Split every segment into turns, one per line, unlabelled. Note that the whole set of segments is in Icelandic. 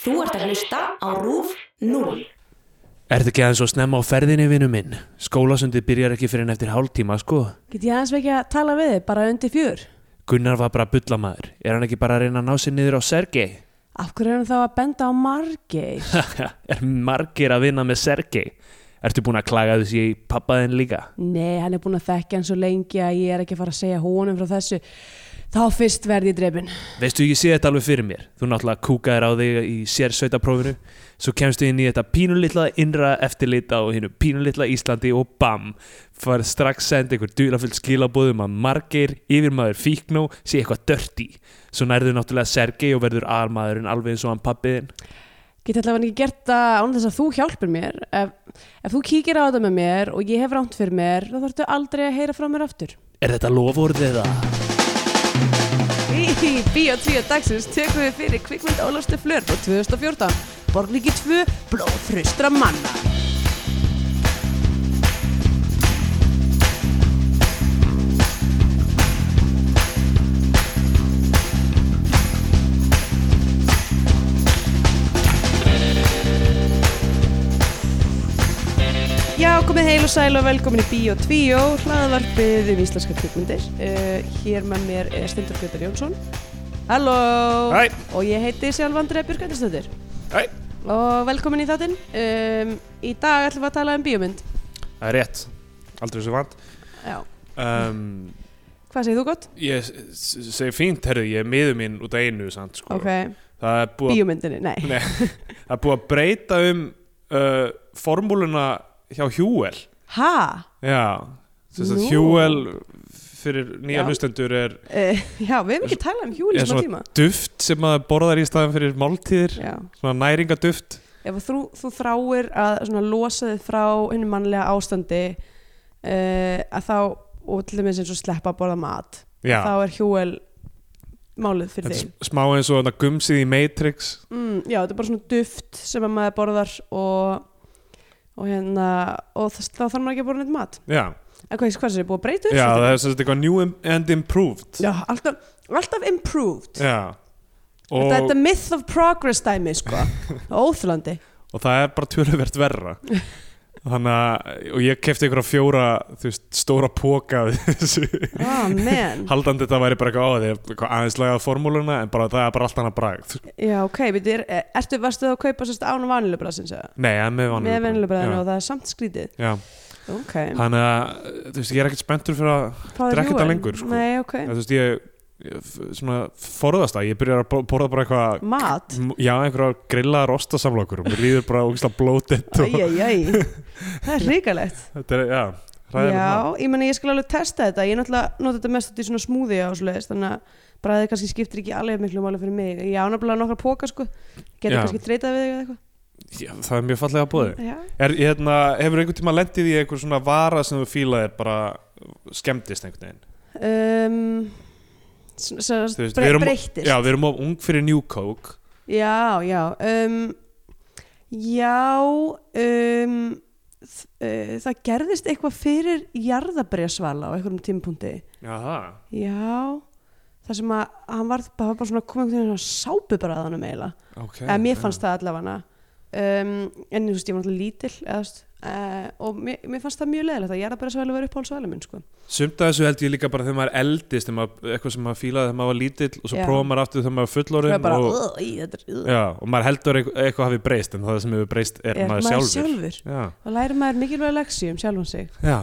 Þú ert að hlusta á RÚF 0.
Ertu ekki aðeins svo snemma á ferðinni, vinnu minn? Skólasundið byrjar ekki fyrir en eftir hálftíma, sko.
Get ég aðeins ekki að tala við þig, bara undir fjör?
Gunnar var bara bullamaður. Er hann ekki bara að reyna að ná sér niður á Sergei?
Af hverju er hann þá að benda á margeir?
er margir að vinna með Sergei? Ertu búin að klaga þessi í pappaðin líka?
Nei, hann er búin að þekka hann svo lengi að ég er ekki að fara að segja honum frá þessu. Þá fyrst verði ég drefin.
Veistu, ég sé þetta alveg fyrir mér. Þú náttúrulega kúkaðir á þig í sérsveitaprófinu, svo kemstu inn í þetta pínulitla innra eftirlit á hinnu pínulitla Íslandi og bam, farið strax senda einhver dulafullt skilabóðum að margir, yfirmaður fíknó, sé eitthvað dörti. Svo nærðu náttúrulega Sergei og verður almaðurinn alveg eins og hann pappiðin.
Get allavega ekki gert það án þess að þú hjálpir mér. Ef, ef þú kíkir á þetta með mér og ég hef ránt fyrir mér, þá þarftu aldrei að heyra frá mér aftur.
Er þetta lofórið eða?
Í Bíó 10 dagsins tökum við fyrir kvikmynd Ólafstu Flör frá 2014. Borglíki 2, blóðfrustra manna. Já, komið heil og sæl og velkomin í Bíó 2, hlaðvarpið um íslenska kvikmyndir. Uh, hér með mér er Stendur Gjötar Jónsson. Halló!
Hæ.
Og ég heiti Sjálfandrei Björgættistöður.
Æ,
Og velkomin í þáttinn. Um, í dag ætlum við að tala um bíómynd.
það er rétt. Aldrei svo vant.
Já.
Um,
Hvað segir þú gott?
ég s- s- segi fínt, herru, ég er miður mín út af einu, sant, sko.
Ok,
Það er búið að
bíómyndinni, nei.
Nei, það er búið að breyta um uh, formúluna hjá Hjúel
Ha?
Já, þess að
Nú.
Hjúel fyrir nýja
Já.
hlustendur er,
Uh, já, við hefum ekki talað um hjúli
er
smá
svona
tíma.
duft sem maður borðar í staðan fyrir máltíðir
Já.
svona næringaduft
Ef þú, þú þráir að svona losa þig frá henni mannlega ástandi uh, að þá, og til dæmis eins og sleppa að borða mat, þá
Já,
er hjúel málið fyrir
þetta er
þig.
s- smá eins og þarna gumsið í Matrix
Mm, já, þetta er bara svona duft sem að maður borðar og, og hérna, og þess, þá þarf maður ekki að borða neitt mat.
Já,
En hvað, hvað er þetta búið að breyta? þessu?
Já það er sem sagt eitthvað new im- and improved
Já, alltaf, alltaf improved.
Já
Þetta er
og,
þetta myth of progress dæmi, sko. Óþlandi.
og það er bara töluvert verra Þannig að, og ég kefti ykkur á fjóra, þú veist, stóra póka af þessu
Oh, man.
haldandi þetta væri bara eitthvað á því eitthvað aðeins lagað formúluna en bara það er bara allt annað bragð
Já, ok, beti, er, ertu, varstu það að kaupa sérst án vanilu bræðsins eða?
nei, en með
Með vanilu bræðinu
já,
og það er samt skrítið.
já.
Ok,
þannig að, þú veist, ég er ekkert spenntur fyrir að,
Fáðu
drekk þetta
hjúin?
lengur, sko.
Nei, ok.
þú veist, ég, ég f- svona forðast það, ég byrjar að bor- borða bara eitthvað
Mat?
m- já, einhverja grillaðar ostasamlokur og mér líður bara ógislega blótitt og
Æjæjæj. Það er hrikalegt.
þetta er, já, hræðilegt mál.
Já, ég meni, ég skal alveg testa þetta. Ég náttúrulega nota þetta mest út í svona smúði og svoleiðist, þannig að bræðið kannski skiptir ekki alveg miklu máli fyrir mig. Ég ánablaði nokkra póka, sko. Getur
Já.
kannski dreitað við þig eða eitthvað.
já, það er mjög fallega bóði
Já.
er, hérna, hefur einhvern tíma lendið í einhver svona vara sem þú fílaðir bara skemmtist einhvern veginn
Um, s- s-
Þú veist, við
bre
erum-
breyttist.
já, við erum of ung fyrir New Coke
Já, já um, Já um, þ- uh, Það gerðist eitthvað fyrir jarðabrjasvala á einhverjum tímpunkti
Jaha.
Já Það sem að hann var, það var bara svona komið einhvern veginn svona sápubræðanum eiginlega
Ok,
eða mér fannst það allavega um, en þú veist, ég var náttúrulega lítill eða, þú veist, uh, og mér, mér fannst það mjög leðilegt að jarðabrjasvala var uppáhaldsvala minn sko.
Sumt af þessu held ég líka bara þegar maður er eldist þegar maður, eitthvað sem maður fílaði þegar maður var lítill og svo
Já.
prófa maður aftur þegar maður er
Það
fullorinn
er bara,
og,
"Ugh, í, þetta er ugh."
já, og maður heldur eitthvað, eitthvað hafi breyst en það sem hefur breyst er,
Er
maður, sjálfur,
sjálfur.
Já.
Þá lærir maður mikilvæg leksi um sjálfan sig
Já.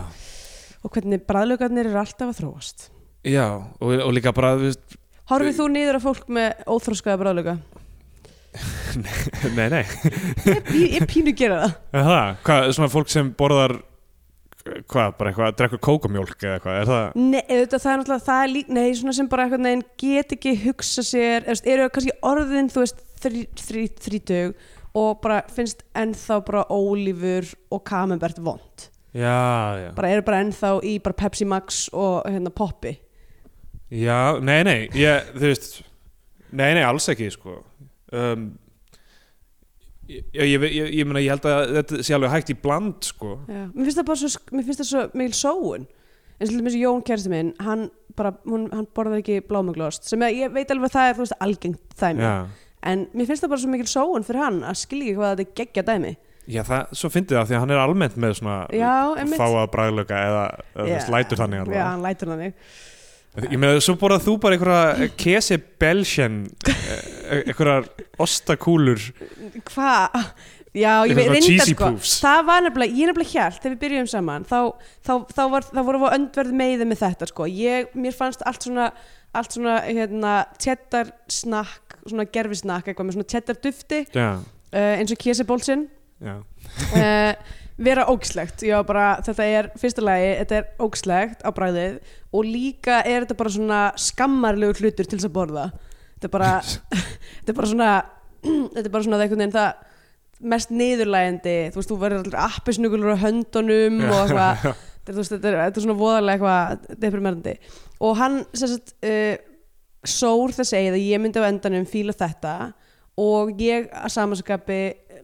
og hvernig bræðlögarnir eru alltaf að þróast
já, og, og líka bara þú veist,
Horfið þú niður á fólk með óþróskaða bráðleika?
nei, nei,
Ég, ég pínu gera það.
er það, hvað, svona fólk sem borðar hvað, bara eitthvað, drekkur kókamjólk eða eitthvað, er það
Nei, auðvitað, það er náttúrulega, það er lík, nei, svona sem bara eitthvað neginn get ekki hugsa sér, eða, þú veist, eru kannski orðin, þú veist, þrí, þrí, þrítug og bara finnst ennþá bara ólífur og kamembert vond.
já, já,
Bara eru bara ennþá í bara Pepsi Max og hérna Poppi.
já, nei, nei ég, þú veist, nei, nei, alls ekki sko um, ég, ég, ég, ég, ég meina ég held að þetta sé alveg hægt í bland sko
Já. Mér finnst það bara svo, sk- mér finnst það svo mikil sóun. En svolítið með þessu Jón kærasti minn, hann bara, hún, hann borðar ekki blámuglost, sem ég, ég veit alveg að það er, þú veist, algengt dæmi.
já
en mér finnst það bara svo mikil sóun fyrir hann að skilja ekki hvað þetta er geggja dæmi
Já, það, svo fyndið það því að hann er almennt með svona
Já, einmitt.
fáa braglöka eða, eða yeah. lætur þannig
Já,
allavega.
hann lætur þannig
Ég meina, svo borðað þú bara einhverja kesi belgian einhverjar ostakúlur
Hvað? Já, ég
Eitthvað
veit,
svona
reyndar
cheesy
sko,
poofs.
það var nefnilega, ég nefnilega hjælt þegar við byrjum saman, þá, þá, þá, var, þá vorum við á öndverð meiði með þetta sko, ég, mér fannst allt svona, allt svona, hérna, cheddar snakk, svona gerfisnakk, eitthvað með svona cheddar dufti,
Já,
uh, eins og kiesebólsinn,
já,
uh, vera ógslegt, já bara, þetta er, fyrsta lagi, þetta er ógslegt á bræðið og líka er þetta bara svona skammarlegur hlutur til þess að borða, þetta er bara, þetta er bara svona þetta er bara svona einhvern veginn það mest niðurlægandi, þú veist, þú verður allir appisnugulur á höndunum og eitthvað þetta, er, þú veist, þetta, er, þetta er svona voðalega eitthvað deprimerandi og hann sem sagt uh, sór þess eigið að ég myndi á endanum fíla þetta og ég að samanskapi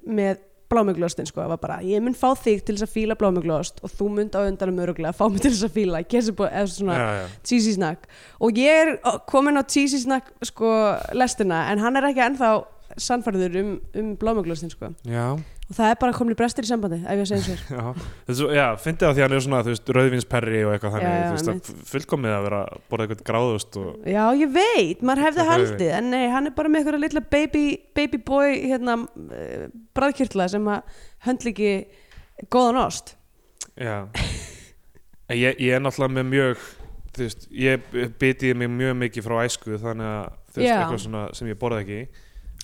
með blámuglöstin sko, það var bara, ég mun fá þig til þess að fíla blámuglost og þú mynd á endanum öruglega fá mig til þess að fíla, kesi búið eða svona
já, já.
cheesy snack og ég er komin á cheesy snack sko lestina en hann er ekki ennþá sannfærður um, um blámaglöstin sko
já,
og það er bara komin brestir í sambandi ef ég segi sér
já. Þetta er svo- Já, fyndið það því að hann er svona, þú veist, rauðvinsperri og eitthvað þannig,
Já, já,
þú veist, það er fullkomið að vera að borða eitthvað gráðust og
já ég veit, maður hefði
Það hefði
haldið en nei, hann er bara með einhverja litla baby, baby boy hérna, uh, bræðkirtla sem að höndla ekki góðan ost
Já En ég, ég er náttúrulega með mjög þú veist, ég bytiði mig mjög mikið frá æsku þannig að þú veist,
Já.
eitthvað svona sem ég borða ekki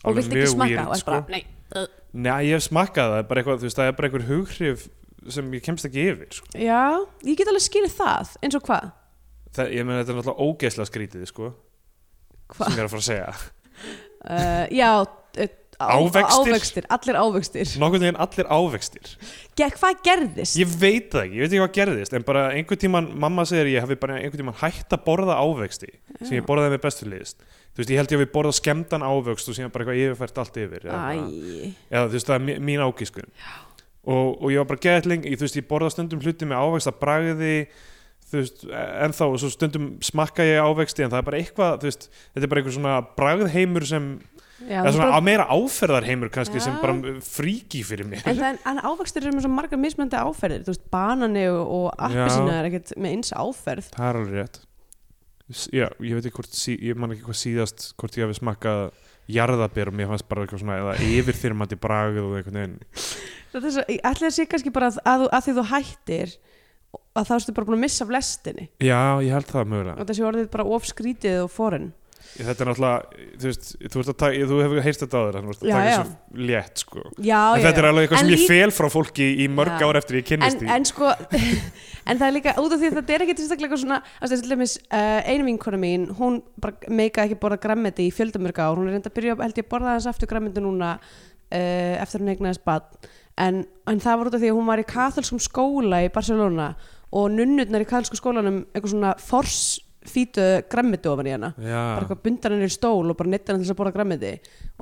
og vilt ekki smakka og
weird,
er bara,
sko.
nei, uh.
Nei, ég hef smakkað það, bara eitthvað, þú veist, það er bara einhver hughrif sem ég kemst ekki yfir sko.
já, ég get alveg skilið það eins og hvað
það, Ég meina þetta er náttúrulega ógeðslega skrítið sko,
Hva?
sem ég er að fara að segja
uh, já, uh, á-
Ávextir?
ávextir, allir ávextir
Nókvæmlega en allir ávextir
Ge- hvað gerðist?
Ég veit það ekki, ég veit ekki hvað gerðist en bara einhvern tíman, mamma segir ég hafi bara einhvern tíman hætt að borða ávexti sem ég borðaði með bestu liðist þú veist, ég held ég hafi borðað skemmtan ávöxt og síðan bara eitthvað yfirfært allt yfir eða,
Æ,
eða þú veist, það er mi- mín ágískun og, og ég var bara geðling ég, þú veist, ég borðað stundum hluti með ávöxt að bragði þú veist, e, ennþá og svo stundum smakka ég ávexti en það er bara eitthvað, þú veist, þetta er bara einhver svona bragðheimur sem,
já,
eða
þú
svona
bara-
bara... meira áferðarheimur kannski sem
Já.
bara fríki fyrir mér
en það er, en ávextur eru með svo margar mismöndi áferðir, þú veist, banani og, og appisina er ekkert með eins áferð
Það er alveg rétt S- Já, ég veit ekki hvort, sí, ég man ekki hvað síðast hvort ég hafi smakkað jarðabér og mér fannst bara eitthvað svona eða yfirþyrmandi bragð og einhvern veginn
þetta er svo, ég ætli það sé kannski bara að, að, þú- að því þú hættir að þá ertu bara búin að missa af lestinni
Já, ég held það
og
mögulega
þessi orðið bara ofskrítið og forinn
Þetta er náttúrulega, þú veist, þú, ert að taka, þú hefur heyrt þetta á þér þannig að
Já,
taka
já.
þessu létt sko
já,
En þetta er alveg eitthvað
En
sem ég
líka-
fel frá fólki í mörg
Já.
ár eftir ég kynnist
en,
því
en sko en það er líka út af því að þetta er ekki tilstaklega svona að þess að uh, einu vinkona mín hún bara meika ekki borða græmmeti í fjöldamörg ár, hún er reynda að byrja held ég að borða hans aftur græmmeti núna uh, eftir að hún eignaðist bad en, en það var út af því að hún var í katholskum skóla í Barcelona og nunnurnar í katholskum skólanum eitthvað svona forsfítu græmmeti ofan í hana bara
Já,
eitthvað bundar henni í stól og bara netta henni til þess að borða græmmeti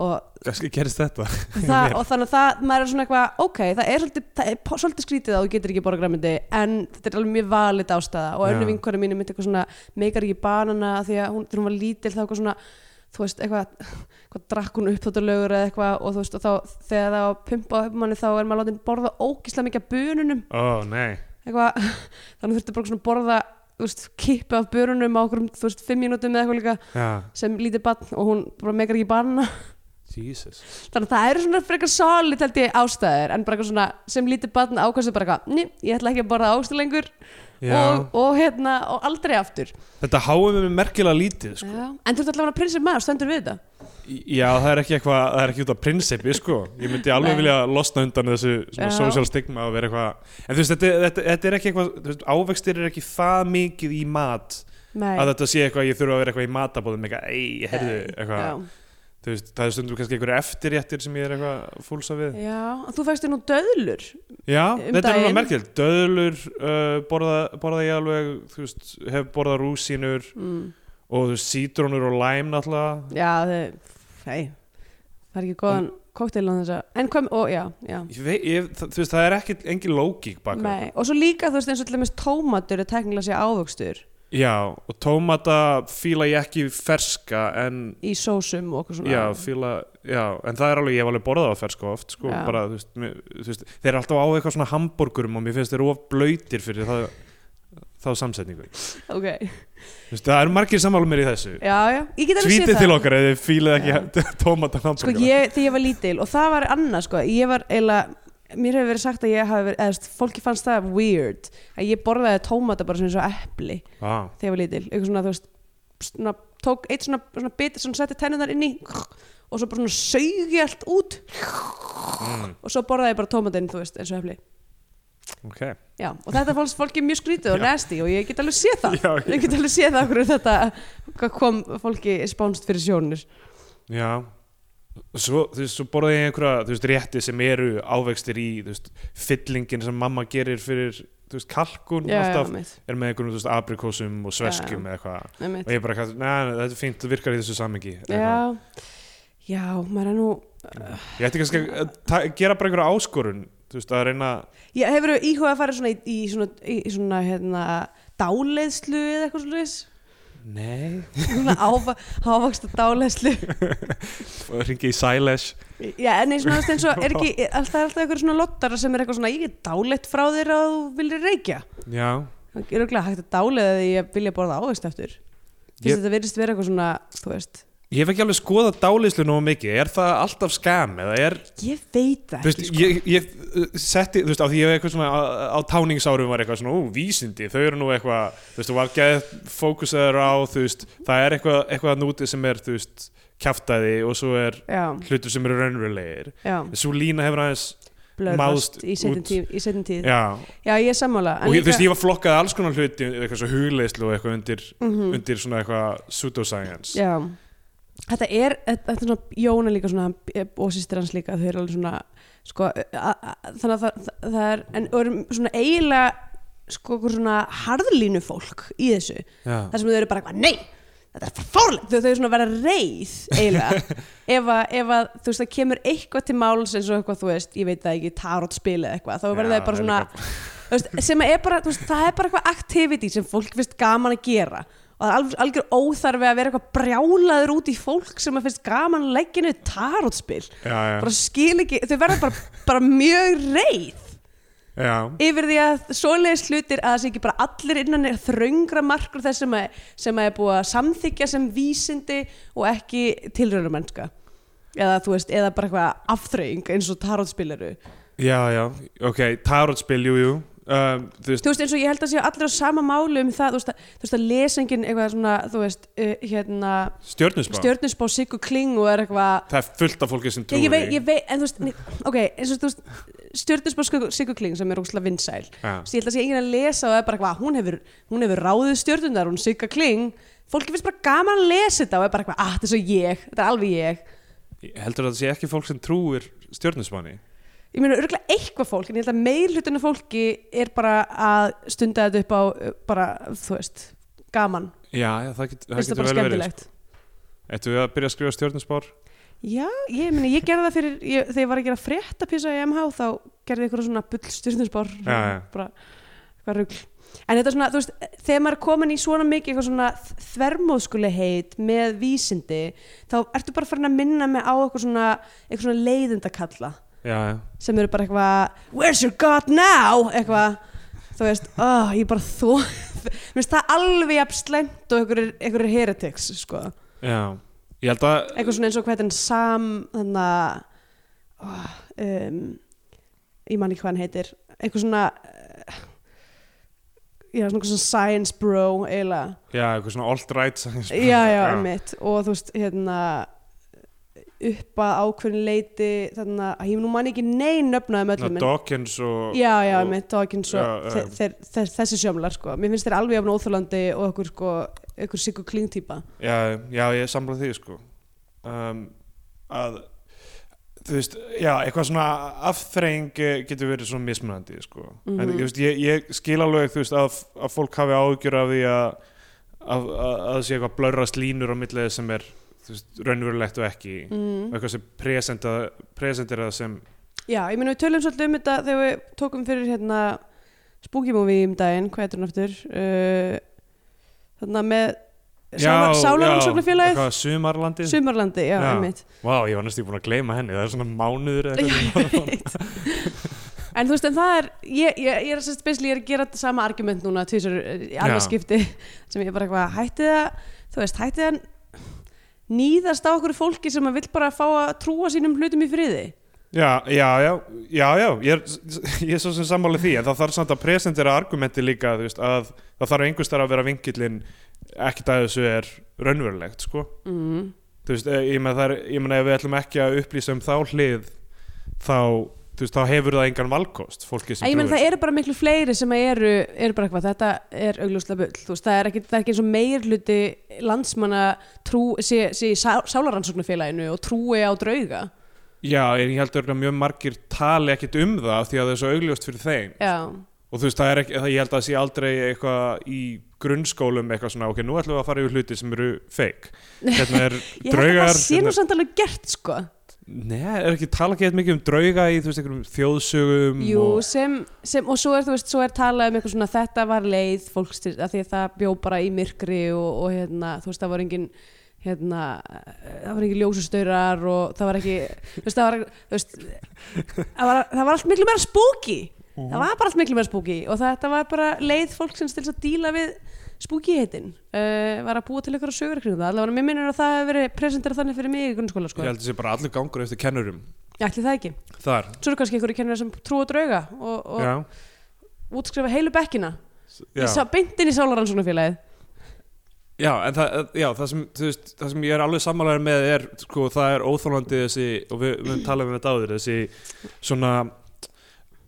og
kannski gerist þetta
það, og þannig að það, maður er svona eitthvað ok, það er svolítið, það er po- svolítið skrítið að þú getur ekki borða græmyndi en þetta er alveg mjög valið ástæða og önnu
Já.
vinkonu mínu myndi eitthvað svona meikar ekki banana af því að hún, þegar hún var lítil þá eitthvað svona þú veist, eitthvað, eitthvað drakk hún upp þetta lögur eða eitthvað og þú veist, og þá þegar það á pumpa upp manni þá er maður látið borða ógislega mikið af bununum
Ó, nei
eitthvað, þannig þurfti bara svona að borða þú veist, kippa af börunum á okkur þú veist, fimm mínútum eða eitthvað líka
Já,
sem lítið barn og hún bara meikar ekki banana
Jesus
Þannig að það eru svona frekar solid held ég ástæður en bara eitthvað svona sem lítið barn ákvæmstu bara eitthvað, ný, ég ætla ekki að borða ástu lengur
Já,
og, og hérna og aldrei aftur
þetta háum við merkilega lítið sko
Já. En þú ert allavega prinsir maður, stendur við þetta
Já, það er ekki eitthvað, það er ekki út af prinsipi, sko. Ég myndi alveg
Nei.
vilja losna undan þessu svona
Já.
social stigma og vera eitthvað. En þú veist, þetta, þetta, þetta er ekki eitthvað, þú veist, ávextir er ekki það mikið í mat
Nei,
að þetta sé eitthvað, ég þurfa að vera eitthvað í matabóðum, eitthvað, ei, heyrðu, eitthvað.
Já,
Þú veist, það er stundum kannski einhverja eftirréttir sem ég er eitthvað fúlsa við.
Já. og þú fækst þér nú döðlur
Já,
Um
þetta er
daginn.
alveg merkjöld. Döðlur uh, borða, borða ég alveg, þú veist, hef borða rúsínur
mm.
og þú veist, sítrónur og læm náttúrulega.
Já, þau, hei Það er ekki góðan
Mm.
kokteil á þessa En hvað, og já, já
Ég veit, ég, það, þú veist, það er ekki, engin lógík baka.
Nei. Og svo líka þú veist eins og til dæmis tómatur er teknilega sé ávöxtur
Já, og tómata fíla ég ekki ferska en
í sósum og okkur svona
Já, fíla, já, en það er alveg, ég hef alveg borðað á fersko oft, sko,
Já.
bara, þú veist, mér, þú veist, þeir eru alltaf á eitthvað svona hambúrgurum og mér finnst þeir of blöytir fyrir það, þá samsetningu.
ok,
Þú veist, það eru margir sammála mér í þessu.
já, já, ég get alveg séð
Svítið
það
til okkar eða þið fílið ekki
Já.
tómata
sko
hambúrgur.
ég, þegar ég var lítil og það var annað sko, ég var eiginlega mér hefur verið sagt að ég hafi verið, eða þú veist, fólki fannst það weird, að ég borðaði tómata bara sem eins og epli
Vá,
þegar ég var lítil, eitthvað svona, þú veist svona, tók eitt svona, svona bit svona setti tennunar inn í og svo bara svona saugi allt út
mm,
og svo borðaði ég bara tómatinn, þú veist, eins og epli
ok.
já, og þetta fannst fólki mjög skrítið og
Já.
nasty og ég get alveg séð það
Já, ég-
ég get alveg séð það hverju þetta hvað kom fólki spánst fyrir sjónir
Já, svo, þú veist, svo borðið ég einhverja, þú veist, rétti sem eru ávegstir í, þú veist, fyllingin sem mamma gerir fyrir, þú veist, kalkun
já, já,
alltaf,
mitt,
er með einhverjum, þú veist, aprikósum og sveskjum eða eitthvað.
mitt.
og ég bara kallt, neða, þetta er fínt, það virkar í þessu samingi
Já, já, maður er nú
ég ætti kannski að ta- gera bara einhverja áskorun þú veist, að reyna
Já, hefur þú íhugað að fara svona í, í svona, í svona hérna, dáleiðslu eða eitthvað slúðis?
nei,
Svona áfa, áfaksta dáleiðslu
ringi í Silesh
Já, en eins og náttúrulega eins og er ekki er alltaf, alltaf eitthvað svona lottara sem er eitthvað svona ég er dáleitt frá þér að þú viljir reykja
já,
Það er okkur hægt að dáleiða því að vilja borða ávegst eftir Þess
Ég-
að þetta virðist vera eitthvað svona, þú veist
ég hef ekki alveg skoðað dálislu nógu mikið, er það alltaf skam eða er,
Ég veit það
þú veist,
ekki sko.
ég, ég uh, setti, þú veist, á því ég hef eitthvað svona á, á táningsárum var eitthvað svona, ú, vísindi þau eru nú eitthvað, þú veist, þú var gæð fókusaður á, þú veist, það er eitthvað eitthvað að núti sem er, þú veist, kjaftaði og svo er
Já,
hlutur sem eru raunverulegir,
já,
svo lína hefur aðeins
blöðast
Máðst
í seinni
út.
tíð, í seinni tíð.
já,
Já, ég er sammála en
og ég,
líka-
þú veist, ég var flokkað alls konar hluti eitthvað svo hugleyslu og eitthvað undir,
Mhm.
undir svona eitthvað pseudoscience
Já Þetta er, þetta er svona, Jóna líka svona og sýstir hans líka, þau eru alveg svona sko, a, a, þannig að það, það, það er en og eru svona eiginlega sko, okkur svona harðlínu fólk í þessu,
Já.
þar sem þau eru bara eitthvað, nei, þetta er fórlega, þau, þau eru svona að vera reið eiginlega, ef að, ef að þú veist, það kemur eitthvað til máls eins og eitthvað, þú veist, ég veit það ekki, tarot eða eitthvað, þá verður þau
Já,
bara
það er
svona
líka bara-
Þú veist, sem er bara, þú veist, það er bara eitthvað activity sem fólk finnst gaman að gera og það er algjör, algjör óþarfi að vera eitthvað brjálaður út í fólk sem að finnst gaman að leggja niður tarotspil
já, já,
bara skil ekki, þau verða bara, bara mjög reið
já,
yfir því að svoleiðis hlutir að það sé ekki bara allir innan þröngra markur þess sem að, sem að er búið að samþykja sem vísindi og ekki tilraunum mennska eða þú veist, eða bara eitthvað afþreying eins og tarotspil eru
já, já ok, tarotspil, jú, jú um, þú veist,
þú veist eins og ég held að séu allir á sama máli um það, þú veist að, þú veist, að lesengin eitthvað svona, þú veist, uh, hérna
stjörnusbá
stjörnusbá Siggu Kling og er eitthvað
það er fullt af fólki sem
ég,
trúir
ég veit,
því.
ég veit, en þú veist, nei, ok eins og þú veist, stjörnusbá Siggu- Siggu Kling sem er ógustlega vinsæl,
Já.
þú veist, ég held að sé enginn að lesa og er bara eitthvað, "Ah, hún hefur, hún hefur ráðið stjörnunar, hún Sigga Kling fólki finnst bara gaman að lesa þetta og er bara eitthvað, ah, þetta er svo ég, þetta er alveg ég
heldur það sé ekki fólk sem trúir stjörnusbáni
ég meina örgulega eitthvað fólk en ég held að meirhlutinu fólki er bara að stunda þetta upp á uh, bara, þú veist, gaman
já, já, það, get, það
finnst það
getur
bara
vel verið
skemmtilegt
ættu við að byrja að skrifa stjörnusbár
Já, ég meni, ég gerði það fyrir ég, þegar ég var að gera frétta písa í MH þá gerði ég eitthvað svona bull stjórnusbár
Já, já.
bara eitthvað rugl en þetta er svona, þú veist, þegar maður er komin í svona mikið eitthvað svona þvermóðskuleheit með vísindi, þá ertu bara farin að minna mig á eitthvað svona eitthvað svona leiðindakalla
já, já,
sem eru bara eitthvað where's your god now, eitthvað þú veist, oh, ég bara þó minnst það alveg jafn slæmt og einhverjir einhverjir heretics, sko
já ég held að
eitthvað svona eins og hvað heitir hann Sam þannig að um, ég man ekki hvað hann heitir eitthvað svona uh, já, svona, eitthvað svona science bro eiginlega,
já, eitthvað svona alt-right
já, já, mitt og þú veist, hérna upp að ákveðin leiti þannig að ég nú man ekki neinn nöfnaðum öllum en-
Dawkins og
já, já,
og-
mitt, Dawkins og
Já,
þe-
já.
þeir- þeir- þessi sjömlar, sko mér finnst þeir alveg jafn óþólandi og okkur, sko ykkur sikku klingtýpa
já, já, ég samla því sko um, að þú veist, já, eitthvað svona afþreying eh, getur verið svona mismunandi sko, en
Mhm.
þú veist, ég, ég skil alveg þú veist, að, að fólk hafi áhugjur af því að að að- að það sé eitthvað blörrast línur á millið sem er þú veist, raunverulegt og ekki
mm.
og eitthvað sem presenta- presentir það sem
Já, ég meina við tölum svolítið um þetta þegar við tókum fyrir hérna Spooky Movie um daginn, hvað heitir hún aftur? Uh, þarna með sálarannsóknarfélagið
Sumarlandið
Sumarlandi, já,
Já.
einmitt
Vá, ég var næstu búin að gleyma henni, það er svona mánuður eða
Já,
eitthvað.
ég veit En þú veist, en það er ég, ég, ég er að sérst beisli, ég er að gera þetta sama argument núna tvisar,
Já.
alveg skipti sem ég er bara eitthvað, hætti það þú veist, hætti það nýðast á okkur fólki sem að vill bara fá að trúa sínum hlutum í friði
Já, já, já, já, já, ég er, ég er svo sem sammála því en það þarf samt að presentera argumenti líka þú veist, að það þarf einhvers þar að vera vingillin ekkert að þessu er raunverulegt, sko
mm.
þú veist, eh, ég meina það er, ég meina ef við ætlum ekki að upplýsa um þá hlið þá, þú veist, þá hefur það engan valkost fólki
En
sem
ég menn,
trúir.
það eru bara miklu fleiri sem að eru, eru bara eitthvað, þetta er augljóslega bull, þú veist, það er ekki, það er ekki eins og meir hluti landsmanna trú, sé, sé í sá, sálarannsóknarfélaginu og trúi á drauga
Já, en ég held að mjög margir tali ekkit um það af því að það er svo augljóst fyrir þeim
Já,
og þú veist, það er ekki, það, ég held að það sé aldrei eitthvað í grunnskólum eitthvað svona, ok, nú ætlum við að fara yfir hluti sem eru fake hérna er
ég held að
draugar
það sé
hérna-
nú samt alveg gert, sko
Nei, er ekki tala ekki eitthvað mikið um drauga í þú veist einhverjum þjóðsögum
Jú, sko.
Mm. og,
sem, sem, og svo er, þú veist, svo er talað um eitthvað svona þetta var leið fólks til, að því að það bjó bara í myrkri og, og hérna, þú veist, það var engin hérna, það var engin ljósustaurar og það var ekki, þú veist, það var, þú veist, það var, það var allt miklu meira spooky,
Mhm.
það var bara allt miklu meira spooky og þetta var bara leið fólksins til þess að díla við spooky heitin, uh, var að búa til eitthvað sögur kringum það, allavega mér minnir að það hefur verið presenterað þannig fyrir mig í grunnskóla,
Ég
sko,
held að sé bara allur gangur eftir kennurum
ætli það ekki
Þar,
svo eru kannski einhverju kennar sem trúa drauga og, og
já,
útskrifa heilu bekkina
já.
í sá, beint inn í sálarannsóknarfélagið
já, en það, já, það sem, þú veist, það sem ég er alveg sammálaður með er, sko, það er óþólandi þessi, og við við höfum talað um þetta áður, þessi svona,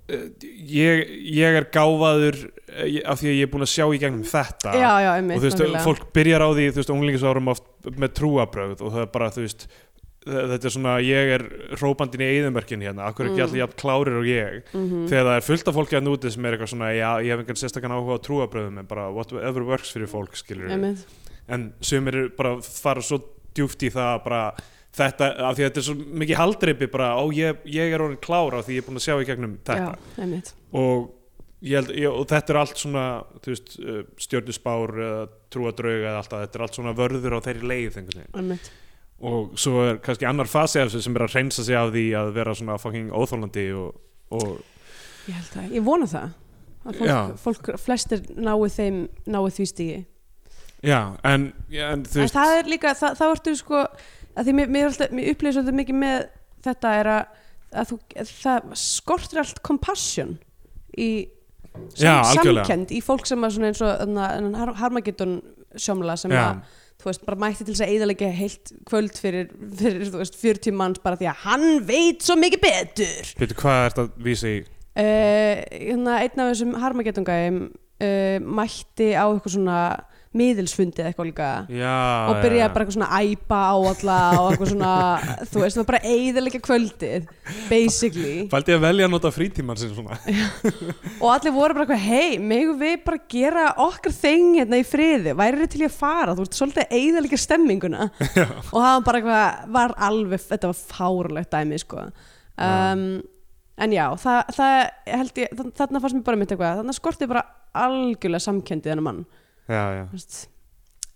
eh, ég, ég er gáfaður eh, ég- af því að ég er búin að sjá í gegnum þetta
já, já,
Ah. og
einmitt
þú veist,
nákvæmlega.
fólk byrjar á því þú veist, á unglingsárum oft með trúabröð og það er bara, þú veist þ- þetta er svona, ég er rópandin í eðumörkin hérna, akkur er ekki
Mm.
allir jafn klárir og ég
Mhm.
þegar það er fullt af fólki að núti sem er eitthvað svona, já, ég hef engan sérstakann áhuga á trúabröðum en bara whatever works fyrir fólk skilur
einmitt,
en sumir eru bara að fara svo djúft í það að bara þetta, af því að þetta er svo mikið haldreipi bara, ó, ég, ég er orðin klár á því ég er búin að sjá í gegnum þetta
já, einmitt
og, ég held, ég, og þetta er allt svona þú veist, eh, stjörnuspár eða trúadrauga eða alltaf, þetta er allt svona vörður á þeirri leið einhvern veginn
einmitt,
og svo er kannski annar fasi af þessu sem er að reynsa sig af því að vera svona fucking óþólandi og, og
ég held það, ég vona það að
Já.
fólk, fólk flestir náu þeim náu því stígi
já, en, já, en þú
en
veist
það er líka, það, það vartu sko að því mér, mér, er alltaf, mér upplýði svolítið mikið með þetta er að, að þú, að það skortir allt compassion í
Já, algjörlega.
samkend í fólk sem að svona eins og þarna- þennan Har- Harmageddon sjómla sem
Já.
að þú veist, bara mætti til þess að eiðalega heilt kvöld fyrir, fyrir þú veist, 40 manns bara því að hann veit svo mikið betur
Pétur, hvað er þetta að vísa í?
uh, hérna, einn af þessum harmagettungæðum uh, mætti á eitthvað svona miðilsfundi eða eitthvað líka
Já,
og byrjaði bara eitthvað svona að æpa á alla og eitthvað svona, þú veist, það var bara eiðalega kvöldið, basically
Fældi ég að velja að nota frítímann sinn svona
og allir voru bara eitthvað, hei, megum við bara gera okkar þing hérna í friði væri þið til í að fara, þú ert svolítið að eiðalega stemminguna og það var bara eitthvað, var alveg, þetta var fárulegt dæmi, sko um, en já, það, það held ég þa- þarna fannst mér bara mitt eitthvað, þarna skortið bara algjörlega samkendi þennan mann
Já, já,
þú veist,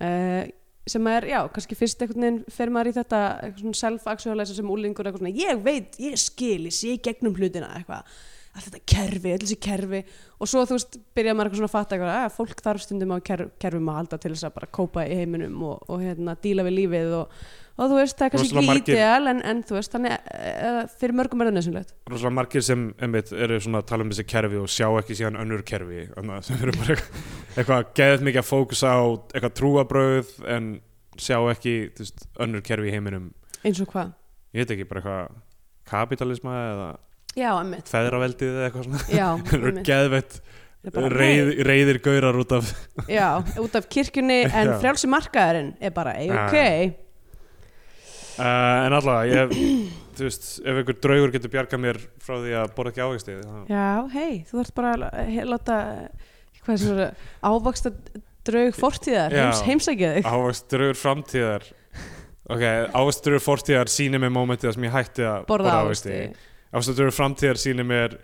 uh, sem er, já, kannski fyrst einhvern veginn fer maður í þetta eitthvað svona self-actualizer sem úlingur eitthvað svona, ég veit, ég skilis, ég gegnum hlutina eitthvað, allt þetta kerfi, alls í kerfi og svo þú veist, byrja maður eitthvað svona að fatta eitthvað, að fólk þarf stundum á kerf, kerfum að halda til þess að bara kópa í heiminum og, og hérna, díla við lífið og, og þú veist, það er kannski
Rosalega
ekki
margir-
ideal en, en þú veist, þannig uh, fyrir mörgum er það nesunlegt
rosalega margir sem einmitt, eru svona að tala um þessi kerfi og sjá ekki síðan önnur kerfi þannig að sem eru bara eitthvað, eitthvað geðið mikið að fókusa á eitthvað trúabröð en sjá ekki þú veist, önnur kerfi í heiminum
eins og hvað,
ég veit ekki, bara eitthvað kapitalisma eða
já, emmitt
feðraveldið eða eitthvað svona
já,
þeir eru
einmitt.
geðveitt
Það er bara,
reið, reyðir gaurar út af
Já, út af kirkjunni en
Já.
frjálsi markaðurinn er bara, ei,
Já,
ok
uh, en allavega, ég þú veist, ef einhver draugur getur bjargað mér frá því að borða ekki ávegstið þá-
Já, hei, þú þarft bara að la- he- láta hvað er svona, ávaksta draug fortíðar,
Já. Ah,
heims, heimsækja þig
ávegströgur framtíðar ok, ávegströgur fortíðar sýnir mér mómentið þar sem ég hætti að
borða ávaksti
ávegströgur framtíðar sýnir mér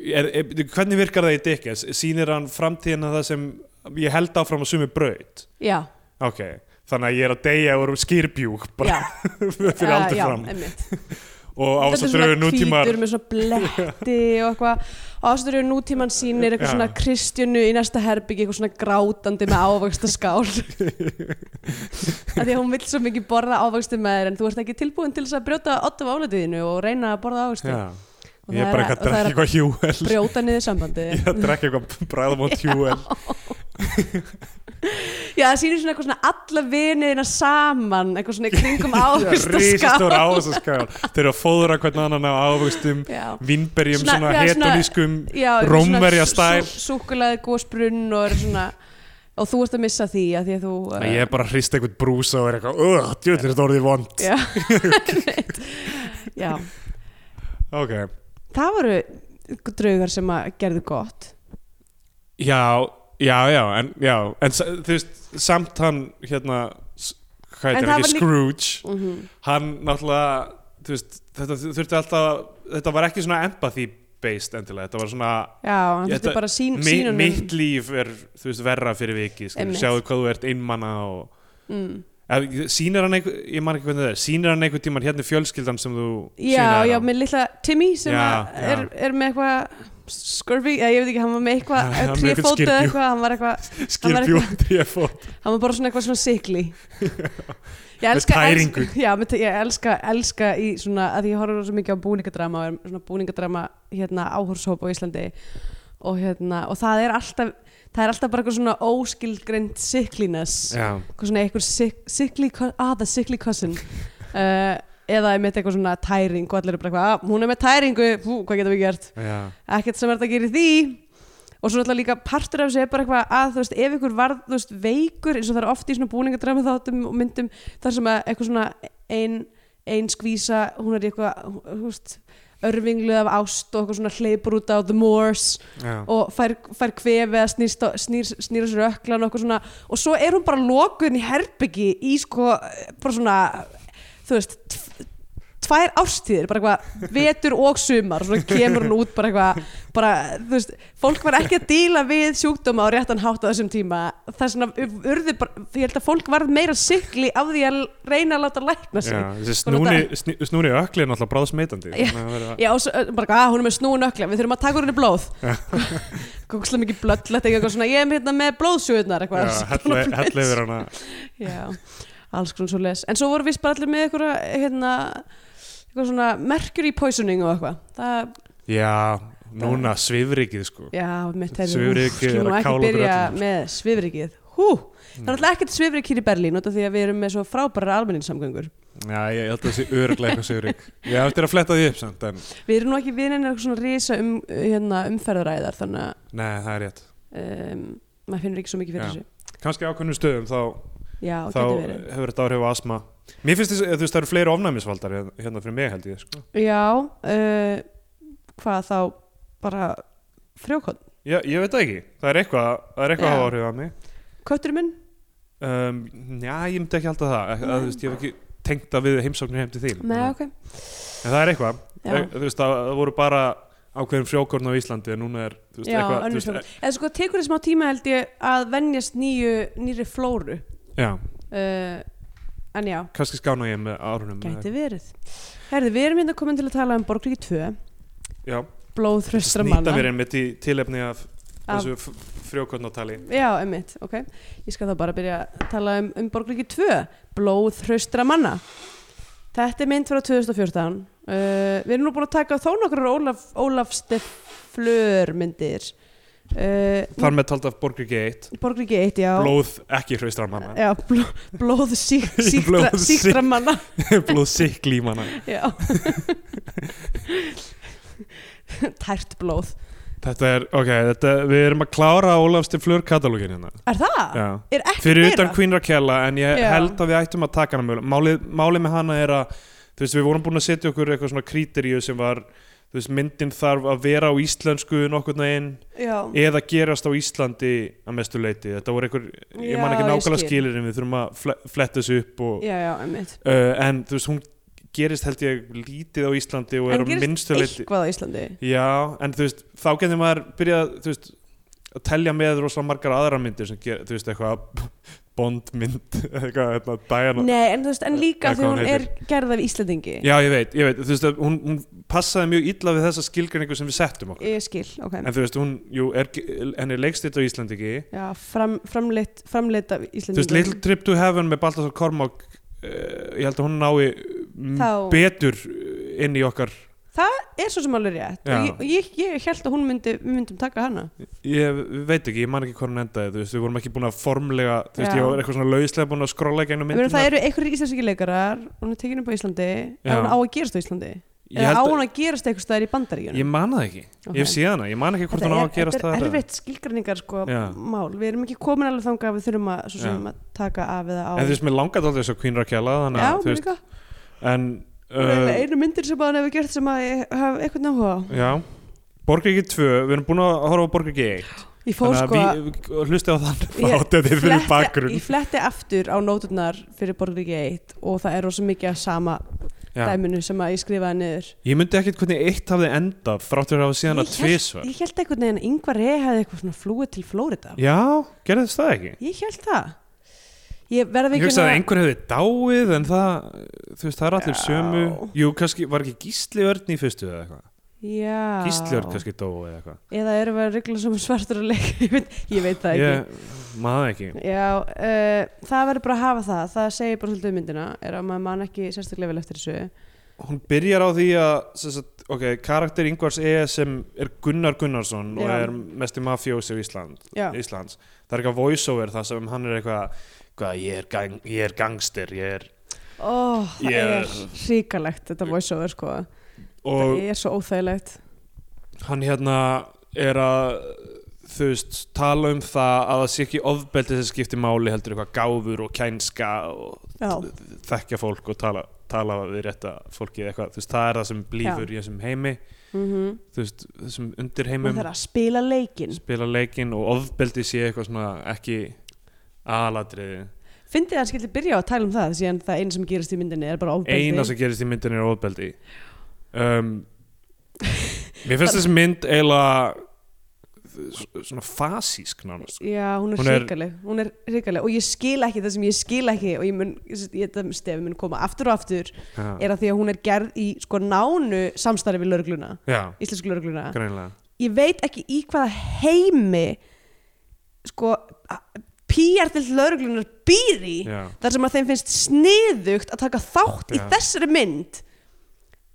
er, er, hvernig virkar það í Dickens sýnir hann framtíðina það sem ég held áfram á sumi braut
já,
ok, þannig að ég er að deyja úr skýrbjúk bara
já
fyrir
Eh,
aldur
já,
fram
einmitt.
og á þess að drögu nútímar
hvítur með svona bletti og eitthvað og ástæður nútíman sýnir eitthvað
Já.
svona Kristjánu í næsta herbyggi eitthvað svona grátandi með ávægsta skál af því að hún vill svo mikið borða ávægstu með þér en þú ert ekki tilbúin til þess að brjóta otta af áletiðinu og reyna að borða ávægstu
Já,
og
ég er bara eitthvað
það
að drekka
er að
eitthvað hjúel
brjóta niður sambandi
ég er að drekka eitthvað bræðmót hjúel
já það sýnir svona eitthvað svona alla viniðina saman eitthvað svona í kringum ávægsta
rísastóra
skál
ávöxta skál þeir eru að fóðra hvern annan á ávöxtum
já
vinnberjum,
Svona-
svona,
já, svona-
hedonískum
Já,
Rómverja stæl.
Súkulaði gósbrunn og er svona Og þú ert að missa því að því að þú eh,
Nei, ég er bara að hrista einhvern brúsa og er eitthvað öh, djöðlir þetta orðið vond
Já, einmitt. já.
ok,
Það voru draugar sem að gerðu gott
já, já, já en, já, en sa- þú veist samt hann, hérna s- hvað
En það
heitir ekki,
var líka-
Scrooge
mm
hann náttúrulega, þú veist þetta þurfti alltaf, þetta var ekki svona empathy based endilega, þetta var svona
Já, hann
Ég-
þurfti
þetta-
bara sín,
mi
sínunum
mitt líf er, þú veist, verra fyrir viki skilur,
Einmitt.
sjáðu hvað þú ert einmana og
mm.
Ef- Sýnir hann einhver, ég man ekki hvernig það er Sýnir hann einhver tíman hérna er fjölskyldan sem þú
Já,
sýnaðir
já,
á?
með litla Timmy sem
Já,
já,
já.
Er, er með eitthvað Skurvy, eða ég veit ekki, hann var með
Já,
eitthvað
hann var með eitthvað
trífót eða
skyrpju.
eitthvað, hann var eitthvað hann var
skilbjú tréfót
hann var bara svona eitthvað svona sikli ég
Með
elska,
tæringu.
elska, já, með, tæ- ég elska, elska í svona, að ég horfður svo mikið á búningadrama og er svona búningadrama hérna áhorshóp á Íslandi og hérna, og það er alltaf það er alltaf bara eitthvað svona óskilgrend siklinas,
Já,
eitthvað svona eitthvað sik, sikli, ah, það sikli cousin uh, eða með eitthvað svona tæring og allir er bara eitthvað, ah, hún er með tæringu hú, hvað getum við gert?
já,
ekkert sem er þetta að gera í því og svo náttúrulega líka partur af þessu er bara eitthvað að þú veist, ef ykkur varð, þú veist, veikur eins og það er oft í svona búningadrama þáttum og myndum þar sem að eitthvað svona ein, ein skvísa, hún er í eitthvað þú veist, örvinglu af ást og eitthvað svona hleypur út á The Moors
já.
og fær, fær kvefi eða snýst á- snýr, snýr á sér öklan og eitthvað svona og svo er hún bara lokuðin í herbyggi í sko bara svona þú veist tf- tvær ástíðir, bara eitthvað vetur og sumar, og svona kemur hún út bara eitthvað, bara, þú veist, fólk var ekki að díla við sjúkdóma á réttan hátt á þessum tíma, það er svona urði bara, ég held að fólk varð meira sikli af því að reyna að láta lækna sig
já.
Bara
Þessi snúni, sní- snúni ökli er náttúrulega bráðsmeitandi
Já.
þannig að það verður að-
Já, og svo, eh, bara, að hún er með snúin ökla, við þurfum að taka úr henni blóð Gókslega mikið blöllett eitthvað svona, ég er með, hérna, með blóðsjöðnar
Já,
eitthvað
helli- helli yfir hana
Já, alls konar svo les En svo vorum við bara allir með eitthvað, hérna, eitthvað svona mercury poisoning og eitthvað Það,
Já, núna svifrikið sko
já, mitt heyrðu,
Svifrykið
úff,
er
Ég
að
má ekki
kála okkur
byrja
öllum.
með svifrikið Hú,
Mm.
það er alltaf ekkert svifrikið í Berlín út af því að við erum með svo frábæra almenningssamgöngur
Já, ég held að það sé örglega eitthvað svifrik Ég ætti að fletta því upp samt en
Við erum nú ekki vinnin eitthvað svona risa um, hérna, umferðaræðar þannig að
Nei, það er rétt
um, maður finnur ekki svo mikið fyrir
Já.
þessu
Kannski ákveðnum stöðum þá,
Já,
þá
getur verið.
hefur þetta áhrif á asma Mér finnst þess að það eru fleiri ofnæmisvaldar hérna fyrir mig held ég sko.
Já, uh, hvað þá bara frjókott.
Já, ég veit það ekki, það er eitthvað, það er eitthvað að
Já.
hafa áhrif á mig
Kötturinn minn?
Um, já, ég myndi ekki alltaf það að, að, þú veist, Ég hef ekki tengt það við heimsóknir heim til þín
Nei,
En
ok.
það er eitthvað
Já.
Það- Eh, Þú veist, það, það voru bara ákveðin frjókorn á Íslandi En núna er, þú veist,
Já,
eitthvað þú
önnur
veist,
frjókott. Eða sko, tekur þið smá tíma held ég að venjast nýju, nýri flóru.
e- Já,
Uh, en já,
kannski skána ég með árunum
gæti verið. Herði, við erum hérna komin til að tala um Borgríki 2,
Já,
blóðþröstra
snýta
manna.
mér einmitt í tilefni af
Af-
þessu frjókornatali
Já, emmitt, ok. Ég skal þá bara byrja að tala um, um Borgríki 2, blóðþröstra manna. Þetta er mynd frá 2014. Uh, við erum nú búin að taka þó nokkrar Ólaf, Ólaf Stefflur myndir. Uh,
Þar með tald af Borgríki 1
Borgríki 1, já.
Blóð ekki hraustra manna
Já, bló, blóð sík, síktra,
Blóð sík-
síktra manna.
Blóð sikli manna
Já. Tært blóð.
Þetta er, ok, þetta, við erum að klára Ólafstir Flur katalógin hérna
Er það?
Já
Er ekki
fyrir
meira?
utan Queen Raquella en ég
Já.
held að við ættum að taka hana mögulega málið, málið með hana er að þú veist, við vorum búin að setja okkur eitthvað svona kríteríu sem var þú veist, myndin þarf að vera á íslensku nokkurn veginn
Já.
eða gerast á Íslandi að mestu leiti þetta voru einhver, ég man
Já,
ekki
ég
nákvæmlega
skil.
skilir en við þurfum að fle- fletta þessu upp og,
Já, já, einmitt.
uh, en þú veist, hún gerist held ég lítið á Íslandi og
En
er á
gerist
minnstu leiti
Eitthvað á Íslandi.
Já, en þú veist, þá getur maður byrjað, þú veist, að telja með rosalega margar aðra myndir sem ger, þú veist eitthvað bondmynd eitthvað, eitthvað Diana
Nei, en, þú veist, en líka
Eða hvað
þegar
hún
hún er gerð af Íslandingi
Já, ég veit, ég veit, þú veist að hún, hún passaði mjög illa við þessa skilgreiningu sem við settum okkur
Ég skil, ok
en þú veist, hún, jú, er, henni er leikstilt á Íslandi ekki
Já, fram, framleitt, framleitt af
þú veist,
Íslandingi
Little Trip to Heaven með Baltasar Kormák uh, ég held að hún nái m,
Þá-
betur eh, inn í okkar
Er svo sem alveg rétt
Já.
Og ég, ég, ég held að hún myndi, við myndum taka hana
ég veit ekki, ég man ekki hvað hún endaði þú veist, við vorum ekki búin að formlega þú veist,
Já.
ég var eitthvað svona lauslega búin að skrolla ekki einu
Ég meina, Það
myndina
eru einhverjir íslenski leikarar Hún er tekin upp á Íslandi
Já.
En hún á að gerast á Íslandi
ég,
Eða á
held,
hún að gerast eitthvað staðar í
að- ég
bandaríkjunum
man það ekki,
Ok.
ég hef séð hana ég man ekki hvort
Þetta
hún á
er-
að gerast
Þetta er
það
erfitt skilgreiningar sko
Já.
mál Við erum ekki komin alveg þangað að við þurfum að, svo sem,
Já.
að taka af eða á
en þú veist, mér langaði aldrei þess að Queen Raquel þannig
Já,
að,
mér
þú veist,
líka
en
Það er
uh,
eiginlega einu myndir sem hann hefur gert sem að ég hef eitthvað náhuga á.
já Borgriki 2, við erum búin að horfa á Borgriki 1
Ég fór sko
við hlusti á þann
Ég
þáttið fyrir
fletti,
bakgrunn
ég fletti aftur á nóturnar fyrir Borgríki 1 og það er rosa mikið af sama
Já.
dæminu sem að ég skrifaði niður
ég myndi ekkert hvernig eitt hafði endað þráttur að hafa síðan að
Ég
tvisvar
Ég held einhvern veginn að Ingvar Rey hefði eitthvað svona flúið til Flórida
já, gerði þess það ekki
Ég held það Ég verði
Ég
ekki
hugsaði að einhver hefði dáið en það, þú veist, það er allir
Já.
sömu Jú, kannski, var ekki Gísli Örn í fyrstu eða eitthvað
Já
Gísli Örn kannski dói eða eitthvað
Eða erum við að regla sem svartur að leika ég, veit- ég veit það ekki
Ég, maður ekki
Já, uh, það verður bara að hafa það Það segir bara svolítið um myndina er að maður man ekki sérstaklega vel eftir þessu
Hún byrjar á því að, sem sagt, ok, karakter Ingvars E sem er Gunnar Gunnarsson og
Já.
er mesti mafjósi á Ísland,
Já,
Íslands Það er eitthvað voiceover það sem hann er eitthvað hvað, ég er, gang, ég er gangster, ég er
Ó, það
Ég-
er ríkalegt þetta voiceover sko
og
Það er svo óþægilegt
hann hérna er að þú veist, tala um það að það sé ekki ofbeldi sem skiptir máli heldur eitthvað gáfur og kænska og
Já,
þekkja fólk og tala, tala við rétta fólki eða eitthvað, þú veist, það er það sem blífur í þessum heimi,
mm
þú veist, þessum
og það
undirheimum
er að spila leikin
spila leikinn og ofbeldi sé eitthvað svona ekki aladriði
Fyndið að hann skildi byrja á að tala um það síðan það eina sem gerist í myndinni er bara ofbeldi
eina sem gerist í myndinni er ofbeldi um, mér finnst þessi mynd eiginlega svona fasísk nánast sko.
Já, hún er,
Hún er-
hrikaleg, hún er hrikaleg og ég skil ekki það sem ég skil ekki og ég mun, ég, þetta stefi mun koma aftur og aftur
Já.
er að því að hún er gerð í sko nánu samstarfi við lörgluna,
já,
íslensku lörgluna
greinlega
ég veit ekki í hvaða heimi sko PR til lauruglunar býr í
Já.
þar sem að þeim finnst sniðugt að taka þátt í
Já.
þessari mynd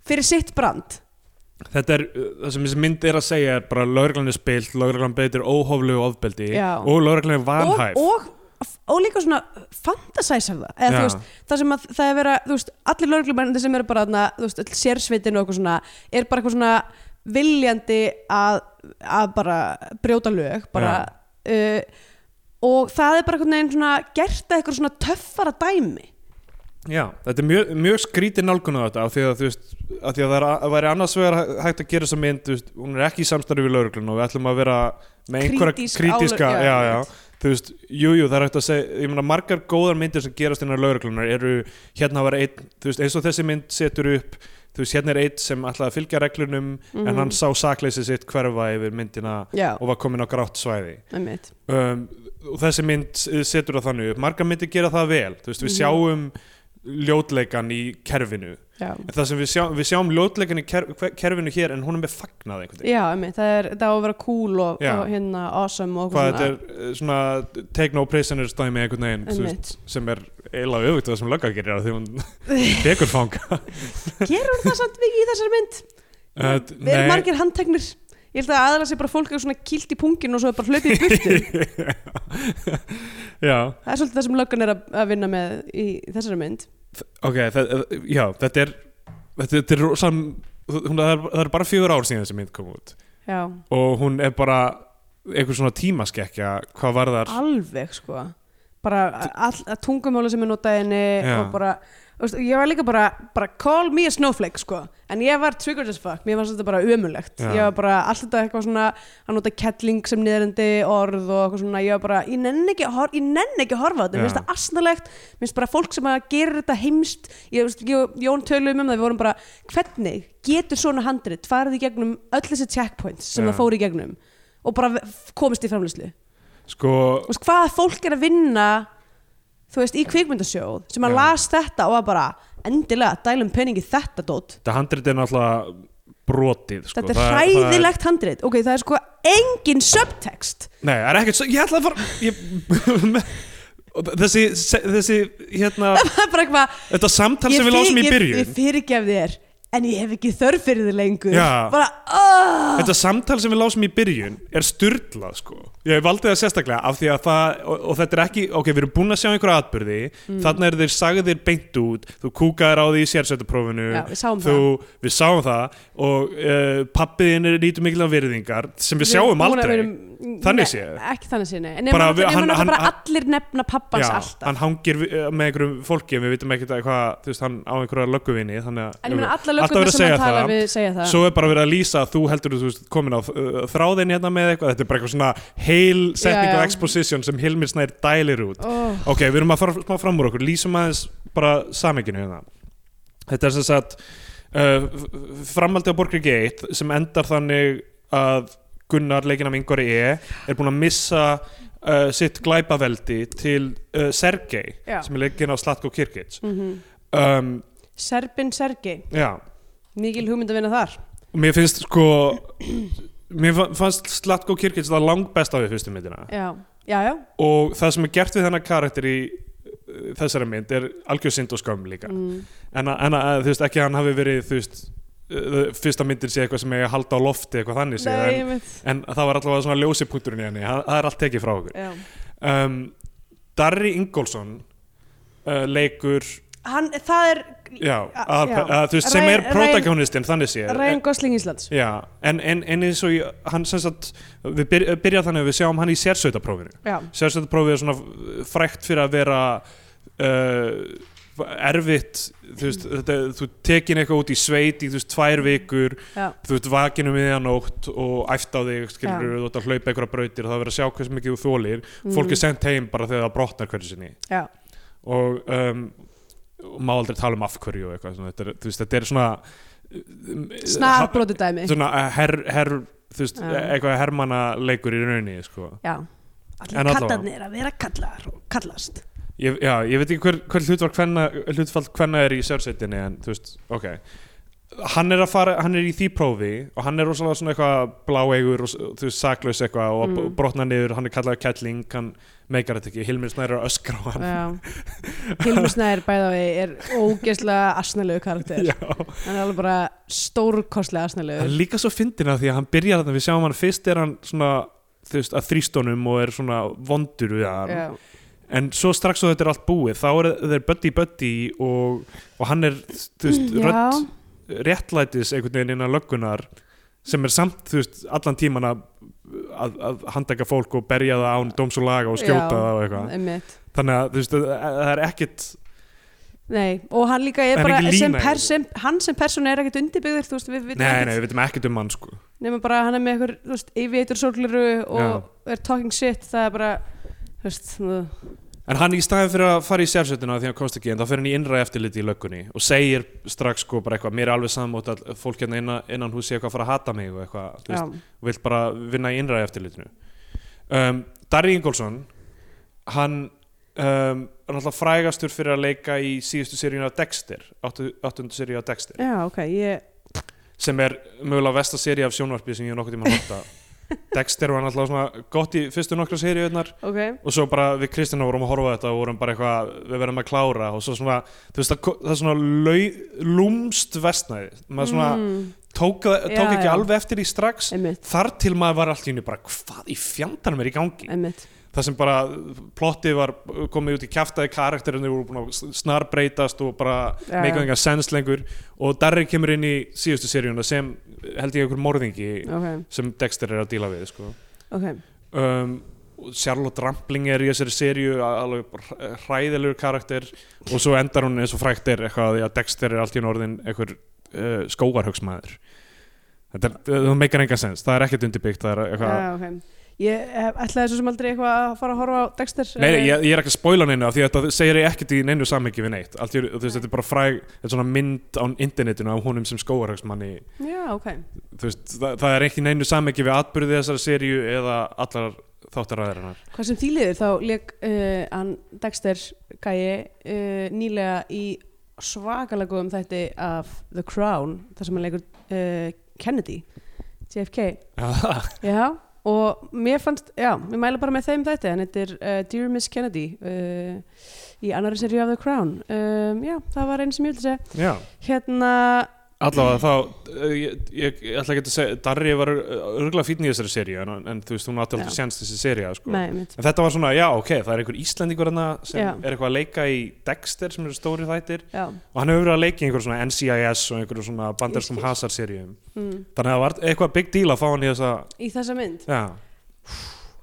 fyrir sitt brand
Þetta er, uh, það sem þessi mynd er að segja er bara lauruglan er spilt, lauruglan beitir óhóflegu ofbeldi
Já.
og lauruglan er
og,
vanhæf
og, og líka svona fantasæsar það eða
Já.
þú veist, það sem að það er vera þú veist, allir lauruglumennir sem eru bara þarna, þú veist, öll sérsveitin og eitthvað svona er bara eitthvað svona viljandi að, að bara brjóta lög bara uh, og það er bara eitthvað neginn svona gert að eitthvað svona töffara dæmi
Já, þetta er mjög, mjög skrítið nálgun á þetta af því að þú veist, af því að það er, að væri annars vegar hæ- hægt að gera þessa mynd, þú veist, hún er ekki í samstarfi við lauruglan og við ætlum að vera með einhverja
Krítísk
krítiska,
álög-
já,
já,
já, þú veist, jú, jú, það er hægt að segja, ég meina margar góðar myndir sem gerast innan lauruglunar eru hérna var einn, þú veist, eins og þessi mynd setur upp, þú veist, hérna er einn sem ætlaði að fylgja reglunum en hann sá sakleysi sitt hverfa yfir myndina
Mhm. já,
og var komin á grátt svæði
einmitt
um, og þessi mynd s- setur það þannig upp margar myndir gera það vel, þú veist, við
Mhm.
sjáum ljótleikan í kerfinu
já.
en það sem við sjáum, við sjáum ljótleikan í ker, hver- kerfinu hér en hún er með fagnað einhvern veginn,
já, einmitt, það er það á að vera cool og,
Já.
og hérna awesome og
hvað
eitthvað
þetta er eh, svona take no prisoners dæmi einhvern veginn, þú veist,
einmitt,
sem er eiginlega öfugt af það sem lögga gerir af því hún tekur fanga
gerur það samt mikið í þessari mynd
Eh,
Við erum
nei.
margir handteknir Ég held að aðra sé bara fólk er svona kilt í pungin og svo er bara hlaupið í burtu
já,
Það er svolítið það sem löggan er að, að vinna með í þessari mynd
ok það, eh, já, þetta er þetta, þetta er rosa hún, það, er, það er bara fjögur ár síðan þessi mynd kom út
Já,
og hún er bara einhver svona tímaskekkja hvað var þar
alveg sko bara a- all, að tungumáli sem er notað í henni
Já.
og bara þú veist, ég var líka bara, bara call me a snowflake sko en ég var triggered as fuck, mér fannst þetta bara ömulegt
Já.
ég var bara allt þetta eitthvað svona að nota kettling sem niðrendi orð og eitthvað svona, ég var bara, ég nenn ekki, að hor ég nenn ekki að horfa á þetta,
Já.
mér finnst það asnalegt mér finnst bara fólk sem að gera þetta heimst ég veist, ég, Jón töluðum um það, við vorum bara hvernig getur svona handrit farið í gegnum öll þessi checkpoints sem
Já.
það fór í gegnum og bara v- komist í framlýslu
sko,
Þú veist, hvað fólk er að vinna þú veist, í kvikmyndasjóð sem að
Já.
las þetta og að bara endilega dælum peningi þetta dót
þetta handrit er náttúrulega brotið sko.
þetta er
Það- það
hræðilegt handrit ok, það er sko engin subtext
Nei, það er ekkert svo, ég ætla að fara ég, Og Þessi, þessi, hérna
það er bara eitthvað
Þetta samtal sem
ég
við lásum í
fyrirgef-
byrjun
ég fyrirgef þér, en ég hef ekki þörf fyrir þér lengur
Já.
bara, oh,
Þetta samtal sem við lásum í byrjun er styrlað sko. Ég valdi það sérstaklega af því að það, og, og þetta er ekki, ok, við erum búin að sjá einhverja atbyrði,
Mm.
þarna eru þeir sagðir beint út, þú kúkaðir á því í sérsveitaprófinu,
Já, við sáum
þú, við sáum það og uh, pappiðin er nýtum mikilvæg virðingar sem við sjáum
búin að-
aldrei.
við erum-
Þannig
Nei,
séð.
ekki þannig séð, nei, en
Bara
bara,
við-
við,
hann-
hann,
hann-
bara
hann-
allir nefna pappans alltaf
hann hangir við- eh, með einhverjum fólki en við vitum ekkert að hvað, þú veist, hann á einhverja lögguvinni þannig
en ég meina
alltaf
alla
verið
lögurnar
að
sem
segja
hann tala
það
við segja það
svo er bara verið að lýsa að þú heldur þú veist, komin á uh, þráðin hérna með eitthvað þetta er bara eitthvað svona heil setning
Já, já.
og exposition sem Hilmir Snær dælir út
oh.
ok, við erum að fara smá fram úr okkur lýsum aðeins bara saminginu hérna þetta er sem sagt uh, f- framaldi á Borgri Gate sem endar þannig að Gunnar leikinn af yngvari E er búin að missa uh, sitt glæpaveldi til uh, Sergei
Já.
sem er leikinn af Slatko Kirkic
mm
um,
Serbin Sergi,
já
mikil hugmynd að vinna þar
Mér finnst sko Mér fa- fannst Slatko Kirkic það langbesta við fyrstu myndina
já, já, já
og það sem er gert við þennan karakter í uh, þessari mynd er algjör synd og skömm líka
mm.
en, að- en að, þú veist, ekki að hann hafi verið þú veist, uh, fyrsta myndin sé eitthvað sem eiga að halda á lofti eitthvað þannig sé
Nei,
en,
mitt
en það var allavega svona ljósipunkturinn í henni það, það er allt tekið frá okkur
já.
um, Darri Ingolson uh, leikur
Hann, það er
já,
A-
að,
já.
Að, þú veist, sem er
Ryan- Ryan-
protagonistinn þannig sé
Ryan Gosling Íslands
Já, en, en, en eins og ég, hann sem sagt, við byr, byrja þannig að við sjáum hann í sérsveitaprófinu.
já,
Sérsveitaprófið er svona frækt fyrir að vera uh, erfitt, þú veist, þetta, þú tekin eitthvað út í sveit í, þú veist, tvær vikur,
já,
þú veist, vakinu miðjanótt og æft á þig, skilur, þú ert að hlaupa einhverja brautir og það er verið að sjá hversu mikið þú þólir. Fólk er sendt heim bara þegar það brotnar hverju sinni
já,
og um, og má aldrei tala um af hverju og eitthvað, svona, þetta er, þú veist, þetta er svona
snarbrotu dæmi
svona eh, her, her, þú veist, eh,
Já.
eitthvað hermana leikur í rauninni sko.
já, allir
En allavega.
kallarnir að vera kallar og kallast
ég, já, ég veit ekki hver, hver hlutfall hvenna, hlutfall hvenna er í sérsveitinni en þú veist, ok hann er, að fara, hann er í því prófi og hann er rosalega svona eitthvað bláeigur og s- þú veist, saklaus eitthvað og
Mm.
mm. brotna niður, hann er kallaður kettling hann meikar þetta ekki, Hilmir Snær er að öskra á hann
Já. Hilmur Snær bæða við er ógeðslega asnalegu karakter
Já.
hann er alveg bara stórkostlega
Það er
asnalegu
líka svo fyndina því að hann byrjar þarna, við sjáum hann fyrst er hann svona, þú veist, að þrýstónum og er svona vondur við hann
Já.
en svo strax og þetta er allt búið þá er þeir buddy buddy og, og hann er þú veist,
Mm, Já.
rödd réttlætis einhvern veginn innan löggunar sem er samt þú veist, allan tíman að, að, að handtaka fólk og berja það án dóms og laga og
Já.
skjóta það og eitthvað
Einmitt.
þannig að þú veist, að- að það er ekkit
Nei, og hann líka er
Það er
bara
engin lína
sem
í
per,
þessu.
sem, hann sem persóna er ekkert undirbyggður þú veist, við vitum
nei, nei,
ekkert
við veitum ekkit um hann sko.
nema bara hann er með einhver, þú veist, yfirveitur sorgleru og er talking shit það er bara, þú veist þú-
en hann í staðin fyrir að fara í sérsveitina því að hann komst ekki en þá fyrir hann í innra eftirliti í löggunni og segir strax sko bara eitthvað mér er alveg sammátt að fólk hérna innan, innan húsi eitthvað að fara að hata mig og eitthvað, þú veist,
já,
vill bara vinna í innræði eftirlitinu um, Darri Ingolson hann um, er náttúrulega frægastur fyrir að leika í síðustu seríun af Dexter 8. seríu af Dexter
já, ok ég,
sem er mögulega vesta seríu af sjónvarpi sem ég hef nokkuð tíma horta Dexter var náttúrulega svona gott í fyrstu nokkra seríunar
ok,
og svo bara við Kristjana vorum að horfa á þetta og vorum bara eitthvað, við verðum að klára og svo svona, þú veist, það, ko- það er svona lau, lúmst vestnæði maður svona
mm,
tók, það-
Já,
tók ekki
já.
alveg eftir því strax
einmitt,
þar til maður var allt í henni bara hvað í fjandanum er í gangi
einmitt
það sem bara plottið var komið út í kjaftaði karakterinu voru búin að snarbreytast og bara
Já,
meika
já.
enga sens lengur og Darri kemur inn í síðustu seríuna sem held ég einhver morðingi
ok,
sem Dexter er að díla við sko.
ok,
um, og Charlotte Rampling er í þessari seríu alveg bara hræðilegur karakter og svo endar hún eins og frækt er eitthvað að því að Dexter er allt í einu orðinn einhver uh, skógarhugsmæður þetta er, þú meikar enga sens það er ekkert undirbyggt, það er eitthvað
já, ok ég hef- ætlaði svo sem aldrei eitthvað að fara að horfa á Dexter
Nei, nei,
eh,
ég, ég er ekki að spoila neina af því að þetta segir ég ekkert í neinu samhengi við neitt Allt, í einu, þú veist, þetta er bara fræg, þetta er svona mynd á internetinu af honum sem skóarhagsmanni
já, ok,
þú þú veist, það, það er ekki neinu samhengi við atbyrði þessara seríu eða allar þáttaræðarinnar
Hvað sem þýliður þá leik uh, hann Dexter Gæi uh, nýlega í svakalega góðum þætti af The Crown þar sem hann leikur uh, Kennedy JFK já, og mér fannst, já, mér mæla bara með þeim þætti en þetta er uh, Dear Miss Kennedy uh, í annari seríu af The Crown um, já, það var einn sem ég vildi segja
Já,
hérna,
allavega þá eh, ég, ég, ég ætla ekki að segja, Darri var örgulega fínn í þessari seríu en, en þú veist, hún átti aldrei
Já.
séns þessi seríu sko.
nei, mitt
En þetta var svona, já, ok, það er einhver Íslendingur hana sem
Já.
er eitthvað að leika í Dexter sem eru stóri þættir
já,
og hann hefur verið að leika í einhver svona NCIS og einhver svona bandarskum
skil.
hasar seríum
mm.
Þannig að það var eitthvað big deal að fá hann í þessa
í þessa mynd
Já,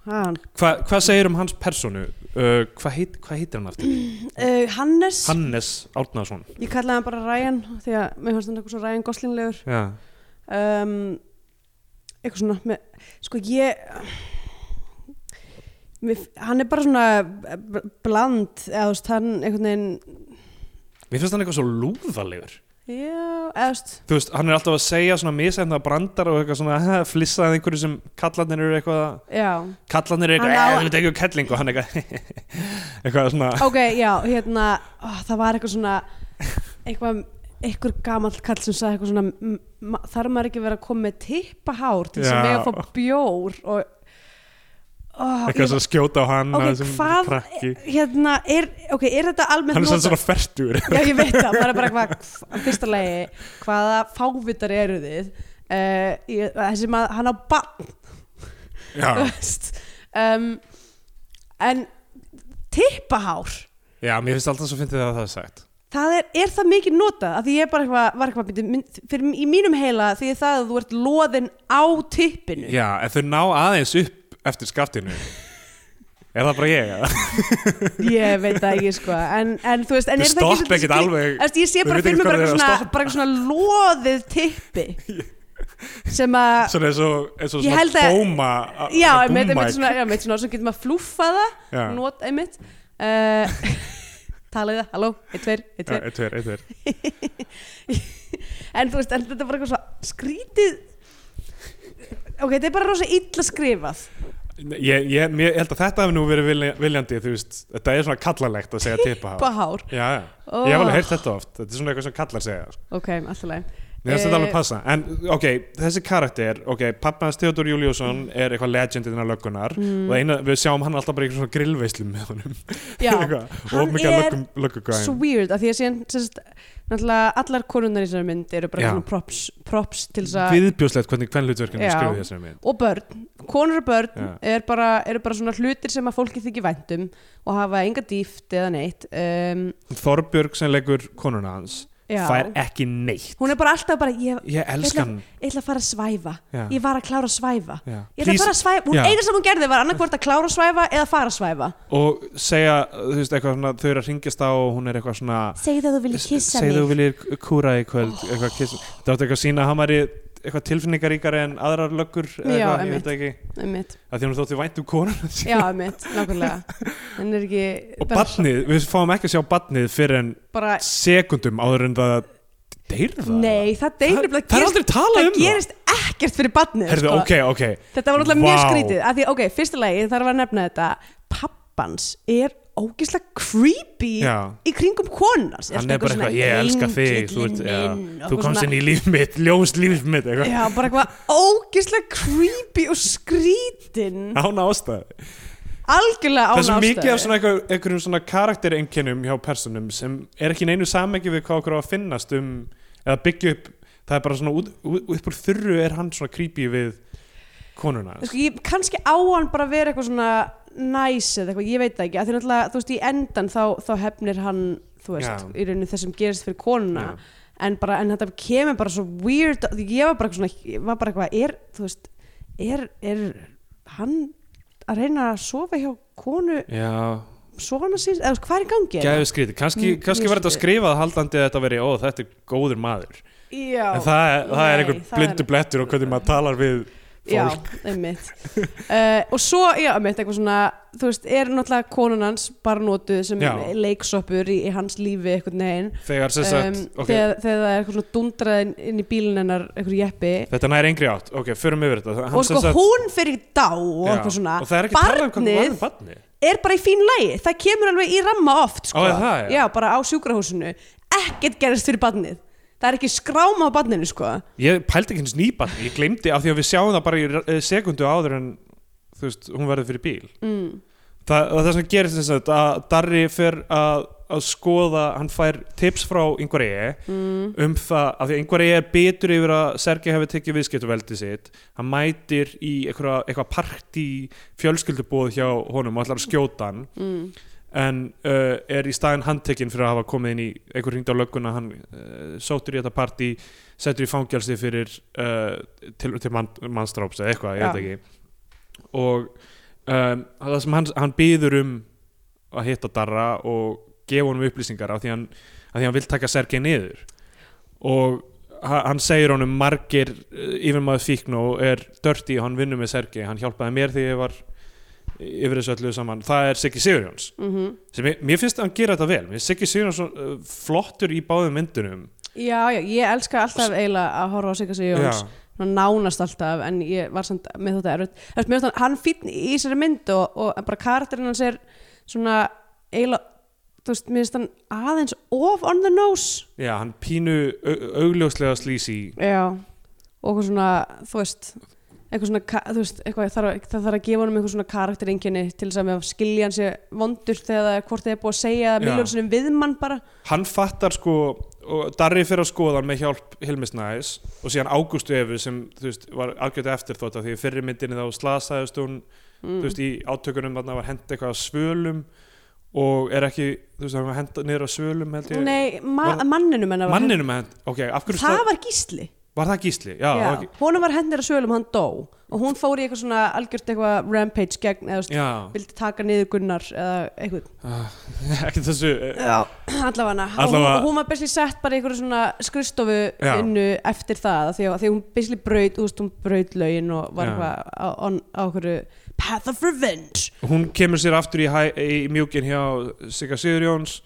hann,
Hva, hvað segir um hans personu? Uh, hvað, heit, hvað heitir hann aftur?
uh, Hannes
Hannes Árnason
ég kallaði hann bara Ryan því að mér fannst hann eitthvað svo Ryan Goslinglegur
Já,
um, eitthvað svona með, sko ég mér, hann er bara svona b- bland eða þú veist hann einhvern veginn
mér finnst hann eitthvað svo lúðalegur
já, eða þú veist
Þú veist, hann er alltaf að segja svona misefna brandar og eitthvað svona "Ha, flissa að einhverju sem kallarnir eru eitthvað að-
já,
kallarnir eru eitthvað,
Hann á-
"Eh, þú veit ekki um kelling og hann eitthvað eitthvað svona
ok, já, hérna ó, það var eitthvað svona eitthvað einhver gamall kall sem sagði eitthvað svona "M- ma- þarf maður ekki að vera að koma með tippahár til þess að
Já.
mega fá bjór og oh,
eitthvað svona skjóta á hann
ok,
sem
hvað
krakki
hérna, er, ok, er þetta almennt
hann er sann
notað-
svona fertur
Já, ég veit það, maður er bara hvað, hva- fyrsta lagi, hvaða fávitar eru þið? Uh, ég, þessi maður, hann á bann, þú
já,
veist. Um, en tippahár,
já, mér finnst alltaf svo fyndið að það er sagt
það er, er það mikið notað? Af því ég bara eitthvað, var eitthvað, byrju, minn- fyrir, í mínum heila því er það að þú ert loðin á tippinu.
já, en þau ná aðeins upp eftir skaftinu er það bara ég? eða?
Ég veit það ekki, sko, en, en þú veist, en
Þau
er það ekki...
stoppa ekkert alveg-
Eftir, ég sé
þau
bara
vita
fyrir
ekki
mig bara
hvar
eitthvað
þau eru að
svona,
stoppa.
bara eitthvað svona loðið tippi sem að
svona eins og eins og
Ég held
svona
að-
bóma
Já,
svona
einmitt,
búmmæk.
einmitt svona, já, einmitt svona, svo getur maður flúffa það,
Já.
not einmitt uh, talaði það, halló, eitt, tveir, eitt,
Já,
tveir
eitt, tveir, eitt, tveir.
en þú veist, en þetta var eitthvað svo skrítið ok, þetta er bara rosa illa skrifað
Ég, ég, mér- ég held að þetta hefur nú verið vilja- viljandi þú veist, þetta er svona kallalegt að segja tippa
bara hár,
já, já,
Oh.
ég hef alveg heyrt þetta oft þetta er svona eitthvað sem kallar segja sko.
ok, alltaf leið
Mér finnst þetta
Eh,
alveg passa En ok, þessi karakter ok, pappans Theodor Júliusson er eitthvað legend innan löggunar
Mm.
og eina, við sjáum hann alltaf bara í svona grillveislum með honum
já,
Eitthvað,
hann
og mikið
er
löggum, löggugræn
svo weird, af því að síðan sérst, náttúrulega allar konunar í þessari mynd eru bara
Já.
svona props, props til þess að
Viðbjóslegt hvernig kvennlutverkinu
Já.
skriði þessari mynd
og börn, konur og börn
Já.
er bara, eru bara svona hlutir sem að fólki þykir væntum og hafa enga dýft eða neitt um,
Þorbjörg sem leikur konuna hans
já.
fær ekki neitt
hún er bara alltaf bara ég,
Ég elska hann
ég ætla að fara að svæfa
Já.
ég var að klára að svæfa
Já.
ég ætla að fara að svæfa, hún
Já.
eina sem hún gerði var annarkvort að klára að svæfa eða fara að svæfa
og segja, þú veist, eitthvað svona þau eru að ringjast á og hún er eitthvað svona
Segðu að þú viljið kissa
segðu þú
mig
viljir kúra í kvöld
Oh.
eitthvað kissa, það átti eitthvað að sína að hann væri eitthvað tilfinningaríkari en aðrar löggur eða
Já,
eitthvað, ég
einmitt.
veit það ekki
einmitt,
að því hún þótti vænt um konuna sína.
já, einmitt, nákvæmlega en er ekki
og barnið, við fáum ekki að sjá barnið fyrir en
bara,
sekundum áður en það deyrða
nei, það deynir
það, það er aldrei
það
talað um það
gerist ekkert fyrir barnið sko.
Herðu, ok, ok,
Þetta var náttúrulega mjög
Vá.
skrítið af því, ok, fyrsta lagi þarf að nefna þetta pappans er ógeðslega creepy
Já.
í kringum konans
hann er bara eitthvað, ég elska þig þú, ert, ja, þú komst inn í líf mitt, ljós líf mitt eitthvað,
Já, bara eitthvað ógeðslega creepy og skrítin
án ástæði
algjörlega án
Það er svo
ástæðu.
mikið af svona einhver- einhverjum svona karakterinkennum hjá personum sem er ekki í neinu samengi við hvað okkur á að finnast um eða byggja upp, það er bara svona út, út, upp úr þurru er hann svona creepy við konuna hans.
sko, ég, kannski á hann bara að vera eitthvað svona næs eða eitthvað, ég veit það ekki að því náttúrulega, þú veist, í endan þá, þá hefnir hann, þú veist,
Já.
í rauninni þessum gerist fyrir konuna
Já.
en, bara, en þetta kemur bara svo weird því ég var bara eitthvað svona, ég var bara eitthvað er, þú veist, er, er hann að reyna að sofa hjá konu
Já,
svona síns, eða þú veist, hvað er í gangi
gæðu skrítið kannski,
Mjög-
kannski
mjög
verður þetta
skrítið.
skrifað haldandi að þetta veri, ó þetta er góður maður
Já,
en það, er- það er
nei,
einhver
það
blindu blettur og hvernig maður talar við
já, einmitt uh, og svo, já, einmitt, eitthvað svona þú veist, er náttúrulega konan hans bara notuð sem
Já.
leiksoppur í, í hans lífi eitthvað neginn
Þegar sem sagt, ok,
Um, þegar, þegar það er eitthvað svona dundrað inn- inn í bílinn hennar eitthvað jeppi
þetta nær engri átt Ok, förum yfir þetta Hann
og
sem
sko
sagt-
hún fyrir dá og
Já,
eitthvað svona
Og það er ekki talað um hvað hún
barnið
var um barni
er bara í fín lægi, það kemur alveg í ramma oft sko.
Ó, er það, já?
já, bara á sjúkrahúsinu ekkert gerist fyrir barnið það er ekki skráma á barninu sko.
Ég pældi ekki hins nýbarni, ég glemdi af því að við sjáum það bara í eh, sekundu áður en þú veist, hún verður fyrir bíl mm. það, það sem gerist þess að, að Darri fer að, að skoða hann fær tips frá einhverja mm. um það, af því einhverja E er betur yfir að Sergi hefur tekið viðskiptuveldi sitt hann mætir í eitthvað, eitthvað partí fjölskyldubóð hjá honum og ætlar að skjóta hann
mm.
en uh, er í staðin handtekinn fyrir að hafa komið inn í einhver ringd á lögguna hann uh, sóttur í þetta partí settur í fangjálsi fyrir uh, til, til mann, mannstráps eða eitthvað, ég veit ekki og um, það sem hann, hann býður um að hitta Darra og gefa honum upplýsingar af því hann, af því hann vil taka Sergei niður og ha- hann segir honum margir eh, yfirmaður fíkn og er dörti og hann vinnur með Sergei, hann hjálpaði mér þegar ég var yfir þessu öllu saman, það er Siggi Sigurjóns sem ég, mér finnst að hann gera þetta vel mér finnst Siggi Sigurjóns uh, flottur í báðum myndunum
já, já, ég elska alltaf eiginlega að horfa á sig að segja Jóns Svona nánast alltaf en ég var samt með þetta erfitt Þú veist, mér finnst hann- hann fínn í þessari mynd og, og bara karakterinn hans er svona eiginlega þú veist, mér finnst hann aðeins of on the nose
já, hann pínu au- augljóslega slísi
Já, og eitthvað svona, þú veist eitthvað svona, ka- þú veist, eitthvað þarf, að- það þarf að gefa honum eitthvað svona karakteringinni til þess að við skilja hann sé vondur þegar það er hvort þið er búið að segja
Já.
miljón sinum við mann bara
hann fattar sko og Darri fyrir að skoða hann með hjálp Hilmis Næs og síðan Ágústu Efu sem þú veist, var algjörðu eftir þótt því í fyrri myndinni þá slasaðist hún
Mm.
þú veist, í átökunum þarna var hend eitthvað að svölum og er ekki, þú veist, hann var hend niður að svölum held ég,
Nei, ma
Var-
manninum hennar var
manninum hend, ok, af hverju
Það
sla-
var gísli
var það gísli, já, já.
Já,
Okay,
honum var hendur að sölum, hann dó og hún fór í eitthvað svona algjört eitthvað rampage gegn, eða þú veist,
já.
vildi taka niður Gunnar eða eitthvað
ekki þessu eh,
Já, allavega og hún,
Allavega-
og hún var besli sett bara í einhverju svona skristofu
Já.
innu eftir það af því að því að hún besli braut, þú veist, hún braut lögin og var
Já.
eitthvað á, á, á einhverju path of revenge
hún kemur sér aftur í, hæ- í mjúkin hjá Sigga Sigurjóns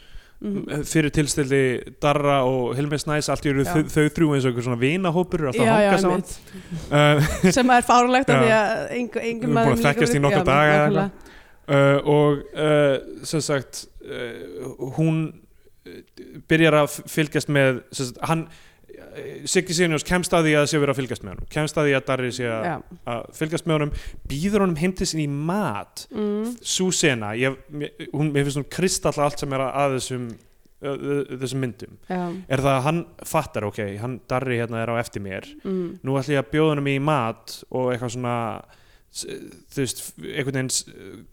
fyrir tilstildi Darra og Hilmi Snæs allt í eru
Mhm. Já.
þau, þau þrjú eins og einhver svona vinahópur alltaf
Já,
að
já,
hanga saman
einmitt.
uh,
sem er fárlegt af
Já.
því að engum
Við erum
engum
búin að
maður
þekkjast í
líka-
nokkra
Já,
daga eða
nákvæmlega.
uh, og uh, sem sagt uh, hún uh, byrjar að fylgjast með sem sagt, hann eh, Siggi Sigurjóns kemst að því að það sé verið að fylgjast með honum kemst að því að Darri sé að,
Já.
að fylgjast með honum býður honum heim til sín í mat
Mm.
svo sena ég, mér, hún, mér finnst hún kristalla allt sem er að, að þessum uh, þessum myndum
Já.
er það að hann fattar ok hann Darri hérna er á eftir mér
Mm.
nú ætlum ég að bjóða hann í mat og eitthvað svona s- þú veist, einhvern veginn s-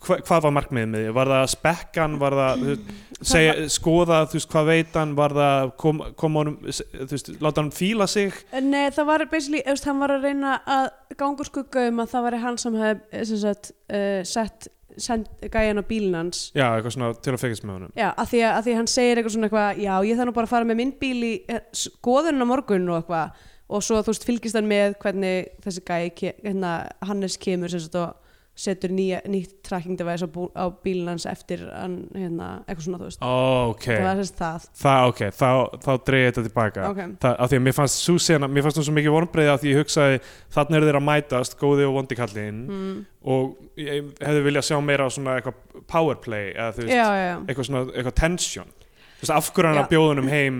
hva, hvað var markmiðið með því, var það að spekka hann var það, þú veist, segja, skoða þú veist, hvað veit hann, var það að kom, kom honum, s- þú veist, láta hann fíla sig
Nei, eh, það var basically, eða hann var að reyna að ganga úr skugga um að það var hann sem hefði sem sagt, uh, sett send, gæjan á bílinn hans
já, eitthvað svona til að fegist með honum
Já, að því að, að því að hann segir eitthvað svona eitthvað já, ég þarf nú bara að fara með minn bíl í eh, skoðun á morgun og eitthvað og svo þú veist fylgist hann með hvernig þessi gæi, ke- hérna, Hannes kemur sem sagt og setur nýja, nýtt tracking device á, bú, á bílinn hans eftir hann, hérna, eitthvað svona, þú veist
ok,
það var sem sagt það
það ok þá, þá dreigði þetta tilbaka
Ok.
það, af því að mér fannst svo sena, mér fannst hún svo mikið vonbreiði af því ég hugsaði, þannig eru þeir að mætast góði og vondi kallinn
mm.
og ég hefði viljað sjá meira svona eitthvað powerplay eða þú veist,
Já, já, já
eitthvað svona, eitthvað tension þú veist, af hverju hann
Já.
að bjóða honum heim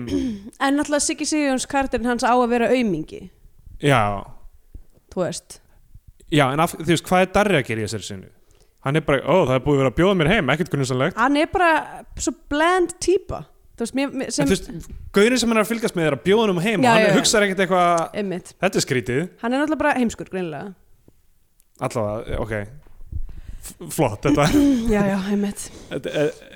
En náttúrulega Siggi Sigjóns kartin hans á að vera aumingi,
já,
þú veist
já, en af, þú veist, hvað er Darri að gera í þessari sinu? Hann er bara, ó, það er búið að vera að bjóða mér heim, ekkert grunnsalegt
hann er bara svo bland típa þú veist, mér, mér- sem
sem... en þú veist, gaurinn sem hann er að fylgast með er að bjóða honum
Já,
heim og
já,
hann
já.
hugsar ekkert eitthvað,
einmitt,
þetta er skrítið
hann er náttúrulega bara heimskur greinlega,
allavega, ok F- flott, þetta
já, já, einmitt
Þetta,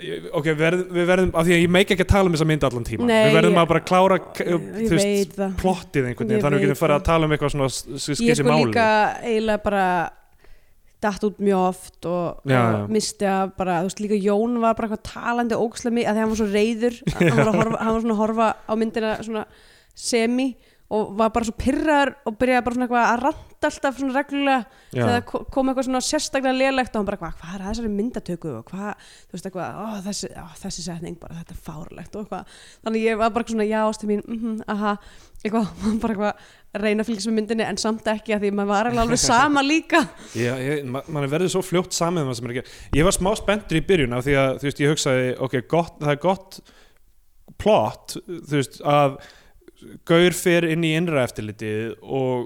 eh, ok, verð, við verðum af því að ég meik ekki að tala um þessa mynd allan tíma
Nei,
við verðum
ég-
að bara klára k-
ég
þú veist,
veit það
plottið einhvern veginn
Ég
þannig við
veit
getum farið
það.
að tala um eitthvað svona sem
ég
skiptir
sko
máli
líka eiginlega bara datt út mjög oft og,
Já, já.
og misti að bara, þú veist, líka Jón var bara eitthvað talandi ógslemi að því hann var svo reyður hann var, að horfa, hann var svona að horfa á myndina svona semi og var bara svo pyrrar og byrjaði bara svona eitthvað að ranta alltaf svona reglulega
Já.
þegar ko- kom eitthvað svona sérstaklega lélegt og hann bara hvað, hvað er að þessari myndatöku og hvað, þú veist eitthvað, ó, þessi, ó, þessi setning bara þetta er fárlegt og eitthvað þannig ég var bara svona, já, ástu mín, mhm, aha eitthvað, maður bara eitthvað að reyna að fylgjast með myndinni en samt ekki að því maður var eiginlega alveg sama líka
Já, ég, ma mann er verið svo fljótt samið um það sem er að gera Ég var smá spenntur í byrjun af því að þú veist, ég hugsaði, ok, gott, það er gott plott, þú veist, að Gaur fer inn í innra eftirlitið og,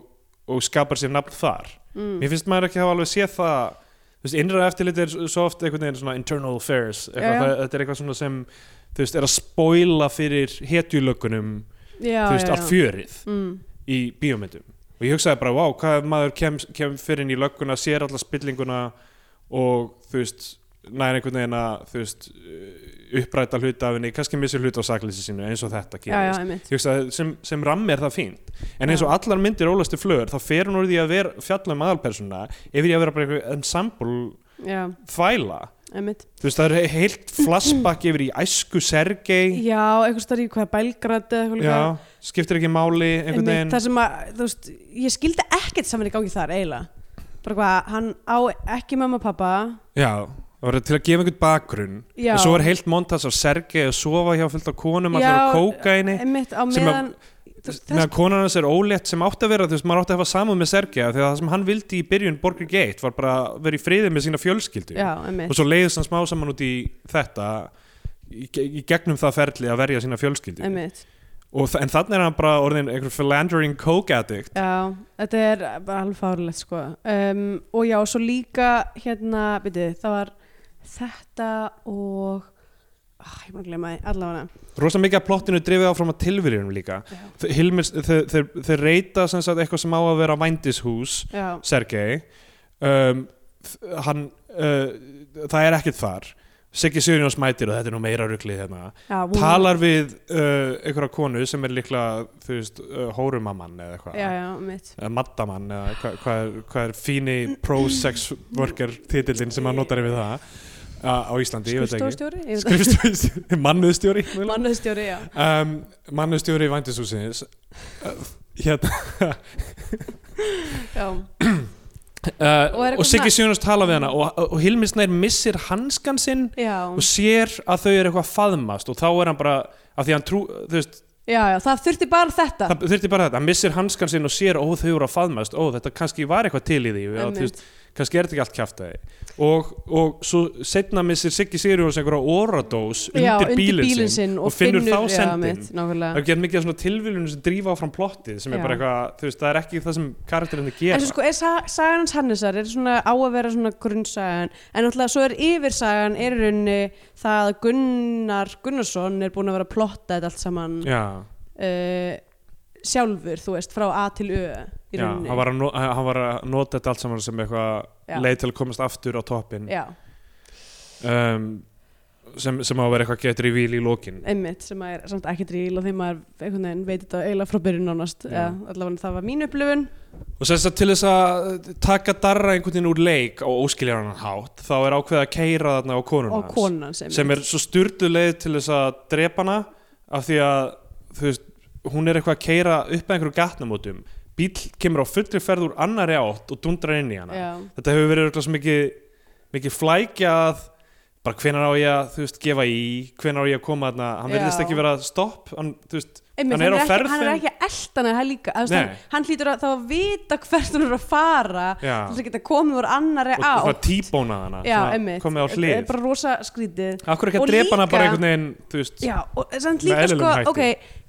og skapar sér nafn þar.
Mm.
Mér finnst maður ekki hafa alveg séð það, þú veist, innra eftirlitið er s- svo oft einhvern veginn svona internal affairs, eitthvað,
Já, já.
Það, þetta er eitthvað svona sem, þú veist, er að spoila fyrir hetjulökunum,
já,
þú veist,
já,
allt fjörið
mm.
í bíómyndum og ég hugsaði bara, vá, hvað ef maður kem, kem fyrir inn í lögguna, sér alla spillinguna og þú veist næri einhvern veginn að þú veist eh, uppræta hluta af henni, kannski missur hluta á sakleysi sínu eins og þetta
já, já,
gerist
einmitt
ég hugsaði, sem, sem rammi er það fínt en eins
Já.
og allar myndir ólastu flöður þá fer hún úr því að vera fjalla um aðalpersona yfir í að vera bara einhver ensemble
já,
þvæla
einmitt
þú veist, það er heilt flashback yfir í æsku Sergei
já, eitthvað starf í hvað Belgrad eða eitthvað líka.
já, skiptir ekki máli einhvern
Einmitt,
veginn
það sem að, þú veist, ég skildi ekkert saman í gangi þar eiginlega bara hvað, hann á ekki mamma og pappa
Já, það var til að gefa einhvern bakgrunn
Já.
en svo var heilt montas á Sergei að sofa hjá fullt á konum að
Já,
það eru kókaini
einmitt á
Sem að-
meðan þú veist,
meðan konan hans er ólétt sem átti að vera þú veist, maður átti að hafa samúð með Sergei af því að það sem hann vildi í byrjun Borger Gate var bara að vera í friði með sína fjölskyldu
já,
og
einmitt,
svo leiðist hann smá saman út í þetta í, ge- í gegnum það ferli að verja sína fjölskyldu
einmitt
og, þa- en þannig er hann bara orðin einhver philandering coke addict
Já, þetta er bara alveg fárlegt sko um, og já, svo líka hérna, byrju, það var þetta og ah, ég er búin að glemma því, allavega
Rosa mikið að plottinu drifið áfram að tilviljunum líka Þe- Hilmir, þeir, þeir, þeir reyta sem sagt, eitthvað sem á að vera vændishús
já,
Sergei um, þ- hann, uh, það er ekkert þar Siggi Sigurjóns mætir og þetta er nú meira ruglið hérna
já, hún-
talar við uh, einhverja konu sem er líklega þú veist, uh, hórumamann eða eitthvað
já, já, mitt
eða maddamann eða hva- hvað er, hva er fíni pro-sex worker titillinn sem hann notar yfir það uh, á Íslandi, ég veit það ekki
skrifstofstjóri, ég veit
skrifstofstjóri, mannviðstjóri
það mannustjóri, já
um, mannustjóri vændishúsins hérna
já, Og er
uh,
eitthvað
og Siggi
svona-
Sjónars tala við hana og, og Hilmi Snær missir hanskan sinn
já,
og sér að þau eru eitthvað að faðmast og þá er hann bara, af því hann trú þú veist,
já, já það þurfti bara þetta
það þurfti bara þetta, hann missir hanskan sinn og sér ó þau eru að faðmast, ó þetta kannski var eitthvað til í því og,
Einmitt.
þú veist, kannski er þetta ekki allt kjaftaði og, og svo setna missir Siggi Sigurjóns einhverja oradós undir,
já, undir
bílinn
bílinn sinn
sinn og, finnur, þá
já,
sendin
mitt,
það
nákvæmlega
er ekki mikið af svona tilviljunum sem drífa áfram plottið sem er
Já.
bara eitthvað, þú veist, það er ekki það sem karakterinn er
En
gera
svo sko, er sa- sagan hans Hannesar er svona á að vera svona grunnsagan en náttúrulega svo er yfirsagan er í rauninni það að Gunnar Gunnarsson er búin að vera að plotta þetta allt saman
Já,
uh, sjálfur, þú veist, frá A til Ö í
já
rauninni.
hann, var að no, eh, hann var að nota þetta allt saman sem
Já.
eitthvað leið til að komast aftur á toppin
Já,
um, sem, sem á að vera eitthvað getur í vil í lókin
einmitt sem að er samt ekki dríl og því maður einhvern veginn veit þetta eiginlega frá byrjun nánast
Já.
ja, allavega það var mín upplifun
og sem sagt til þess að taka darra einhvern veginn úr leik á óskiljarann hátt þá er ákveðið að keira þarna á konun
og konan sem,
sem er svo styrdu leið til þess að drepa hana af því að þú veist, hún er eitthvað að keira upp að einhverju gatnamótum bíl kemur á fullri ferð úr annari átt og dundrar inn í hana
Já,
þetta hefur verið örugglega svo mikið, mikið flækjað bara hvenar á ég að þú veist, gefa í hvenar á ég að koma þarna hann
Já.
verðist ekki vera stopp hann, þú veist,
einmitt,
Hann er á ferð
hann er
þeim-
ekki eldan hann, líka, að þú veist,
Nei.
hann, hann hlýtur að þá að vita hvert hann er að fara
já
þess að geta komið úr annari
og
á
það tíbónað hana
já,
svona
einmitt,
komið á
Þetta er
hlið
bara rosa skrítið
Akkur ekki
Og
að drepa hana bara
líka-
einhvern veginn þú veist,
já, og samt
Með
líka sko,
eðlilegum hætti.
ok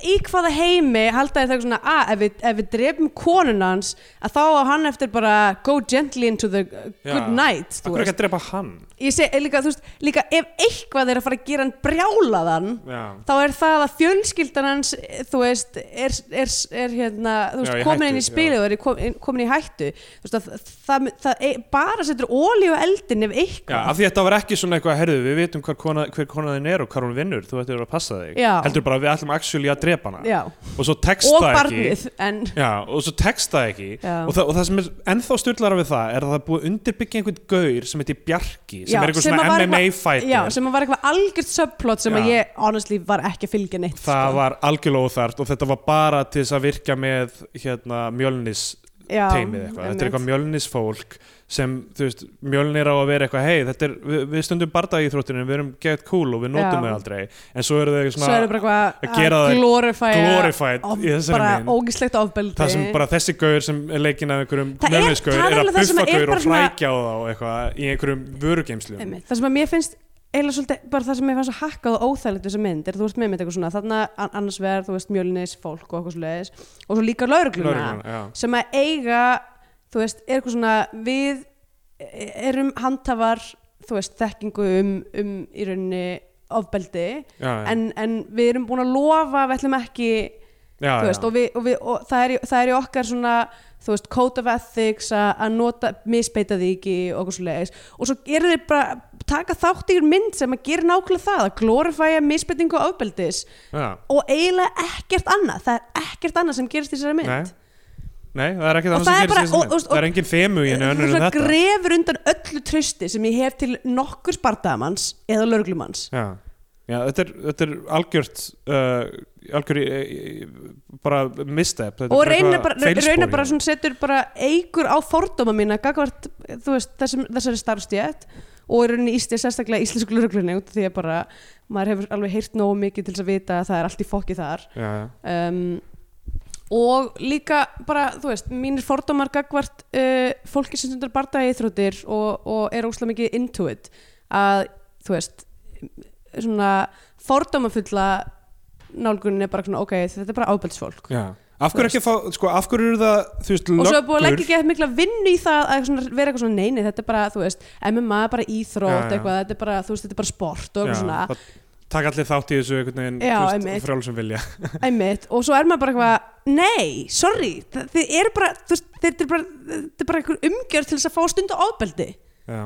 í hvaða heimi halda þér það svona að ef, við- ef við drefum konun hans að þá á hann eftir bara go gently into the uh,
Já.
good night þú
akkur ekki
veist.
að drepa hann
ég segi líka, þú veist, líka ef eitthvað er að fara að gera hann brjálaðan
já,
þá er það að fjölskyldan hans þú veist, er, er, er hérna, þú veist,
Já, í
komin
hættu,
inn í spilið og er í kom, inn- komin í hættu þú veist, að, það, það, það bara setur ólíu eldin ef
já,
eitthvað
af því þetta var ekki svona eitthvað herðu, við vitum hver kona, hver kona þinn er og hvað hún vinnur, þú ættir að passa þig
Já.
heldur bara að við ætlum actually að drepa hana
Já,
og svo tekst
og
það ekki
barnið en
Já, og svo tekst það ekki
Já.
og það, og það sem er ennþá styrlara við það er að það er búið að undirbyggja einhvern gaur sem heitir Bjarki sem sem
Já,
er einhver
sem að
svona
var
MMA
eitthvað-
fighter
Já, sem að var eitthvað algjört subplot sem
Já.
að ég honestly var ekki að fylgja neitt
það
sko.
var algjörlega óþært og þetta var bara til þess að virka með hérna, mjölnis
Já,
teimið eitthvað, þetta er
einmitt.
eitthvað mjölnis fólk sem, þú veist, mjölnir á að vera eitthvað hei, þetta er, við, við stundum barða í þróttinu við erum gett cool og
Já.
við nótum þau aldrei en svo eru þau
Svo er það
svona
bara eitthvað
að gera það
glorify
glorified í þessari
bara
mynd
ógislegt ofbeldi
það sem bara þessi gaur sem er leikinn af einhverjum
Það er-
mjölnisgaur
það er
er að
alveg það sem
buffa
er
gaur
bara
og
svona-
hrækja á þá eitthvað í einhverjum vörugeimslum
Einmitt. Það sem að mér finnst eiginlega svolítið, bara það sem mér fannst svo hakkað og óþægilegt við þessa mynd, er þú veist með mynd eitthvað svona þarna an- annars vegar, þú veist, mjölnis, fólk og eitthvað svoleiðis, og svo líka laurugluna
Lögreglan, já.
sem að eiga, þú veist, er eitthvað svona við erum handhafar, þú veist, þekkingu um, um í rauninni ofbeldi,
Já, já.
en, en við erum búin að lofa að við ætlum ekki
Já,
þú veist,
já.
og, við, og, við, og það, er, í- það er í okkar svona þú veist, code of ethics a- að nota, misbeita því ekki og okkur svo leiðis og svo eru þeir bara taka þátt í einhver mynd sem að gera nákvæmlega það að glorifæja misbeitingu og ofbeldis
Já.
og eiginlega ekkert annað það er ekkert annað sem gerist í þessari mynd
Nei. Nei, það er ekkert
Og
annars
það
sem
er bara-
gerist í
og-
þessum
og-
mynd. Það er engin þemu í henni önnur en
Svona
þetta.
grefur undan öllu trösti sem ég hef til nokkur spartamanns eða löglumanns
Já, Já þetta, er, þetta er algjört, uh, algjör uh, bara misstep. Þetta er
og
bara
reyna
eitthvað
bara,
feilspor
reyna
í
bara
henni.
svona setur bara eigur á fordóma mína gagvart, þú veist, þessum, þessari starfstjætt og er rauninni ístið sérstaklega íslensku lögreglunni út af því að bara maður hefur alveg heyrt nógu mikið til þess að vita að það er allt í fokki þar
Já, já.
um, og líka bara, þú veist, mínir fordómar gagvart uh, fólki sem stundar bardaði íþróttir og, og er óslega mikið into it að, þú veist svona fordómafulla nálgunin er bara svona, ok, þetta er bara ábælsfólk
já. Af hverju ekki að fá, sko, af hverju eru það, þú veist,
og svo er búið að leggja
löggur.
ekki eitthvað mikla vinnu í það að svona, vera eitthvað svona neini, þetta er bara, þú veist MMA er bara íþrótt,
Já, já.
eitthvað, þetta er bara þú veist, þetta er bara sport og eitthvað svona
það Takk allir þátt í þessu einhvern veginn
Já,
þú
einmitt.
veist, frjálsum vilja.
einmitt, og svo er maður bara eitthvað nei, sorry, þa- þið eru bara þú veist, þetta er bara, þetta er bara einhver umgjörð til þess að fá stundu ábeldi
Já.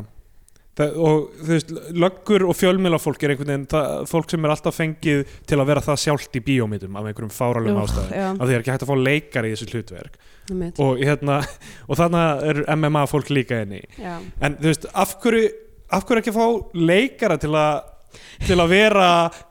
Það, og þú veist, löggur og fjölmilafólk er einhvern veginn það, fólk sem er alltaf fengið til að vera það sjálft í bíómyndum af einhverjum fáralum ástæðum.
já,
Af því það er ekki hægt að fá leikar í þessu hlutverk.
einmitt
og hérna og þarna er MMA fólk líka inn í
já.
en þú veist, af hverju af hverju ekki fá leikara til að til að vera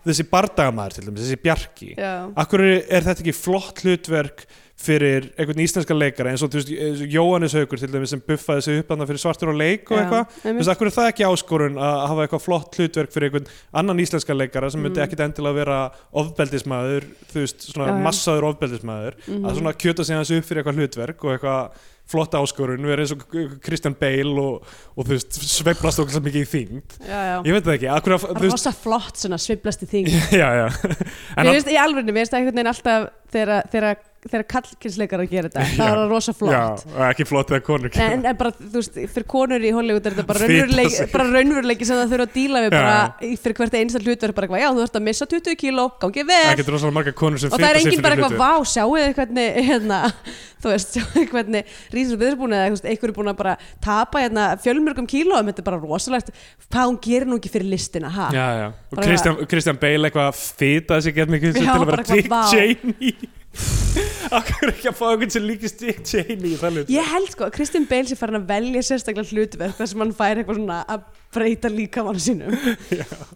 þessi bardagamæður til dæmis, þessi bjarki
Já.
af hverju er þetta ekki flott hlutverk fyrir einhvern íslenska leikara eins og þú veist, eins og Jóhannes Haugur til dæmis sem buffaði sig upp hann fyrir svartur og leik og
Já,
eitthvað, þú
einmitt.
veist, af hverju er það ekki áskorun að hafa eitthvað flott hlutverk fyrir einhvern annan íslenska leikara sem myndi ekkit endilega vera ofbeldismæður, þú veist,
Mm.
svona
Já, Mhm. já.
massaður ofbeldismæður að svona kjöta sig hans upp fyrir eitthvað hlutverk og eitthvað flotta áskorun vera eins og Christian Bale og, og þú veist, sveiflast okkur sem mikið í þyngd
já, já.
ég veit það ekki, akkur að
það
þú
er
veist,
rosa flott svona sviplasti þing
já, já
Mér
en að,
finnst í alveg, mér finnst það einhvern veginn alltaf þegar- þegar þegar kallkynsleikar að gera þetta það
Já.
var rosa
já,
flott
ekki flott þegar konur
Nei, en, en bara, þú veist, fyrir konur í Hollywood er þetta bara
Fita
raunveruleiki,
sig.
bara raunveruleiki sem það þurfa að díla við
Já.
bara í- fyrir hvert einsta hlutverk bara eitthvað, já, þú ert að missa 20 kíló, gangi vel
það getur rosalega marga konur sem
Eh. og það er
fita sig
enginn
fyrir
bara eitthvað,
hlutverk.
vá, sjáu þið hvernig, hérna, þú veist, sjáu þið hvernig rísur viðbúin eða eitthvað, eitthvað er búin að bara tapa hérna fjölmörgum kílóum, þetta er bara rosalegt, hvað hún gerir nú ekki fyrir listina, ha?
já, já, og
Ah. Bara-
Christian, Christian Bale eitthvað fita sig gett mikið til
Já,
að
bara
vera
eitthvað,
Dick
vá.
Cheney akkur ekki að fá einhvern sem líkist Dick Cheney í það hlutverk
Ég held sko að Kristinn Bale sé farin að velja sérstaklega hlutverk þar sem hann fær eitthvað svona að breyta líkamann sínum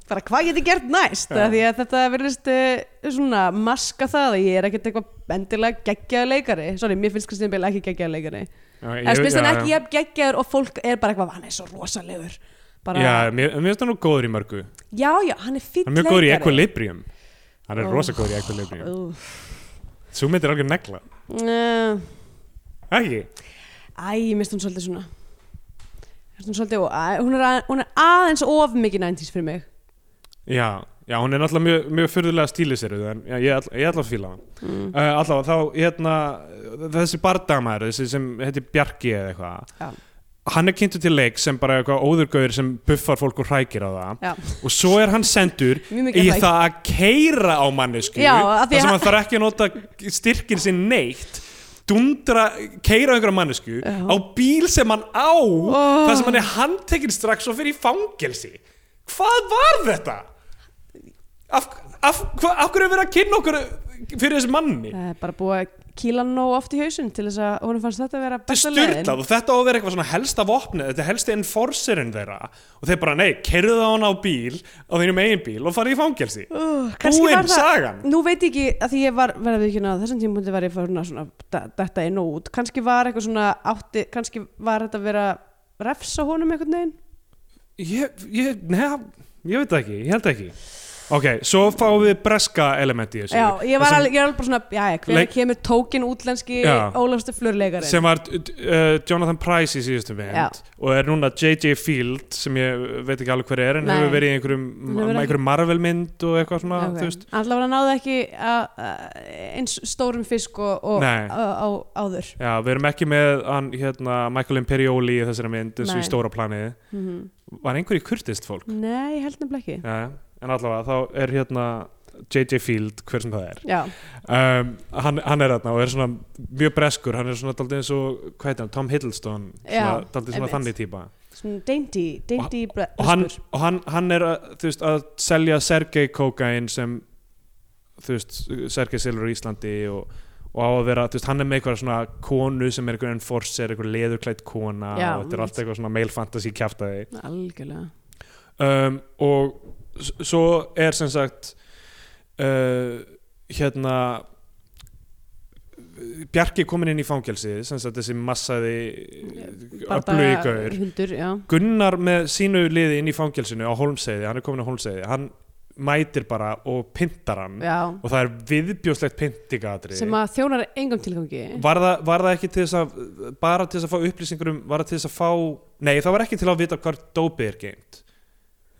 bara hvað get ég gert næst
Já.
af því að þetta verðist uh, svona maska það að ég er ekkert eitthvað endilega geggjaður leikari sorry, mér finnst Kristinn Bale ekki geggjaður leikari
Já, ég-
þess finnst hann
já,
ekki
já.
jafn geggjaður og fólk er bara eitthvað, hann er svo rosalegur bara,
Já, mér mér finnst hann nú góður í mörgu
já, já, hann er fýtt
Hann er mjög góður í Equilibrium Hann er
Ó.
rosa góður í Equilibrium Sú mynd er algjör negla
Uh,
Ekki?
Æ, mér finnst hún svolítið svona Mér finnst hún svolítið, æ, hún er, að, hún er aðeins of mikið 90s fyrir mig
Já, já hún er náttúrulega mjög, mjög fyrðulega stílið sér En já, ég, ætla- ég ætla að fíla hann mm. uh, Allavega þá, hérna Þessi bardamæður, þessi sem heiti Bjarki eða eitthvað
Já.
Hann er kynntur til leik sem bara eitthvað óðurgauður sem buffar fólk og hrækir á það
Já.
og svo er hann sendur
Mjög mikið
í
hræk.
það að keira á mannesku
Já, af því
þar sem
að-
hann þarf ekki að nota styrkin sinn neitt dundra, keira einhverja mannesku
Já.
á bíl sem hann á þar sem hann er handtekinn strax og fyrir í fangelsi hvað var þetta? af, af, hva, af hverju er verið að kynna okkur fyrir þessi manni?
Það er bara búið að kýla hann nóg oft í hausinn til þess að honum fannst þetta að vera
Þetta
besta
er
leiðin
styrlað og þetta á að vera eitthvað svona helsta vopnið, þetta er helsti enforcerinn þeirra og þeir bara, nei, kerðu það hann á bíl, á þínum eigin bíl og farið í fangelsi.
Uh, kannski var
Búinn
það-
sagan.
Nú veit ég ekki að því ég var verða við ekki að þessum tímpundi var ég fyrir svona da- þetta inn og út, kannski var eitthvað svona átti, kannski var þetta að vera refsa honum einhvern veginn
Ég, ég, neða, ég veit það ekki, ég held ekki. Ok, svo fáum við breska element í þessu.
Já, ég var
Þessum-
alveg, ég var alveg bara svona, já, já, hver
Leik-
kemur tókin útlenski
Já.
Ólafstu flurleikarinn
sem var uh, Jonathan Price í
Já.
síðustu mynd og er núna J.J. Field sem ég veit ekki alveg hver er en
Nei.
hefur verið í einhverjum,
Hann hefur
ma-
ekki-
einhverjum Marvel mynd og eitthvað svona
Ok.
þú veist
Alla var að náða ekki að- að- eins stórum fisk og, og
Nei.
á, á, áður
Já, við erum ekki með hann, hérna, Michael Imperioli í þessari mynd eins og
Nei.
í stóra planið
mm
Var einhver í kurtist fólk?
Nei, ég held nefnilega ekki
Já, en allavega þá er hérna J.J. Field, hver sem það er
Já,
um, hann, hann er þarna og er svona mjög breskur, hann er svona daldið eins og hvað heitir hann, Tom Hiddleston
Já,
svona, daldið svona
einmitt.
þannig típa
svona dainty, dainty bre-
og hann,
breskur.
og hann, hann er að, þú veist, að selja Sergei kókain sem þú veist, Sergei selur í Íslandi og, og á að vera, þú veist, hann er með eitthvað svona konu sem er eitthvað enforcer eitthvað leðurklætt kona
Já,
og þetta er allt eitthvað svona male fantasy kjaftaði
Algjörlega
um, og s- svo er sem sagt uh, hérna Bjarki komin inn í fangelsi sem sagt þessi massaði öflugi
Bardaga-
gaur
Hundur, já
Gunnar með sínu liði inn í fangelsinu á Holmseiði, hann er komin á Holmseiði hann mætir bara og pyntar hann
Já,
Mm. og það er viðbjóslegt pyntingadri
sem að þjónar engum tilgangi
var, það, var það ekki til þess að bara til þess að fá upplýsingur um, var það til þess að fá nei það var ekki til að vita hvar dópið er geimt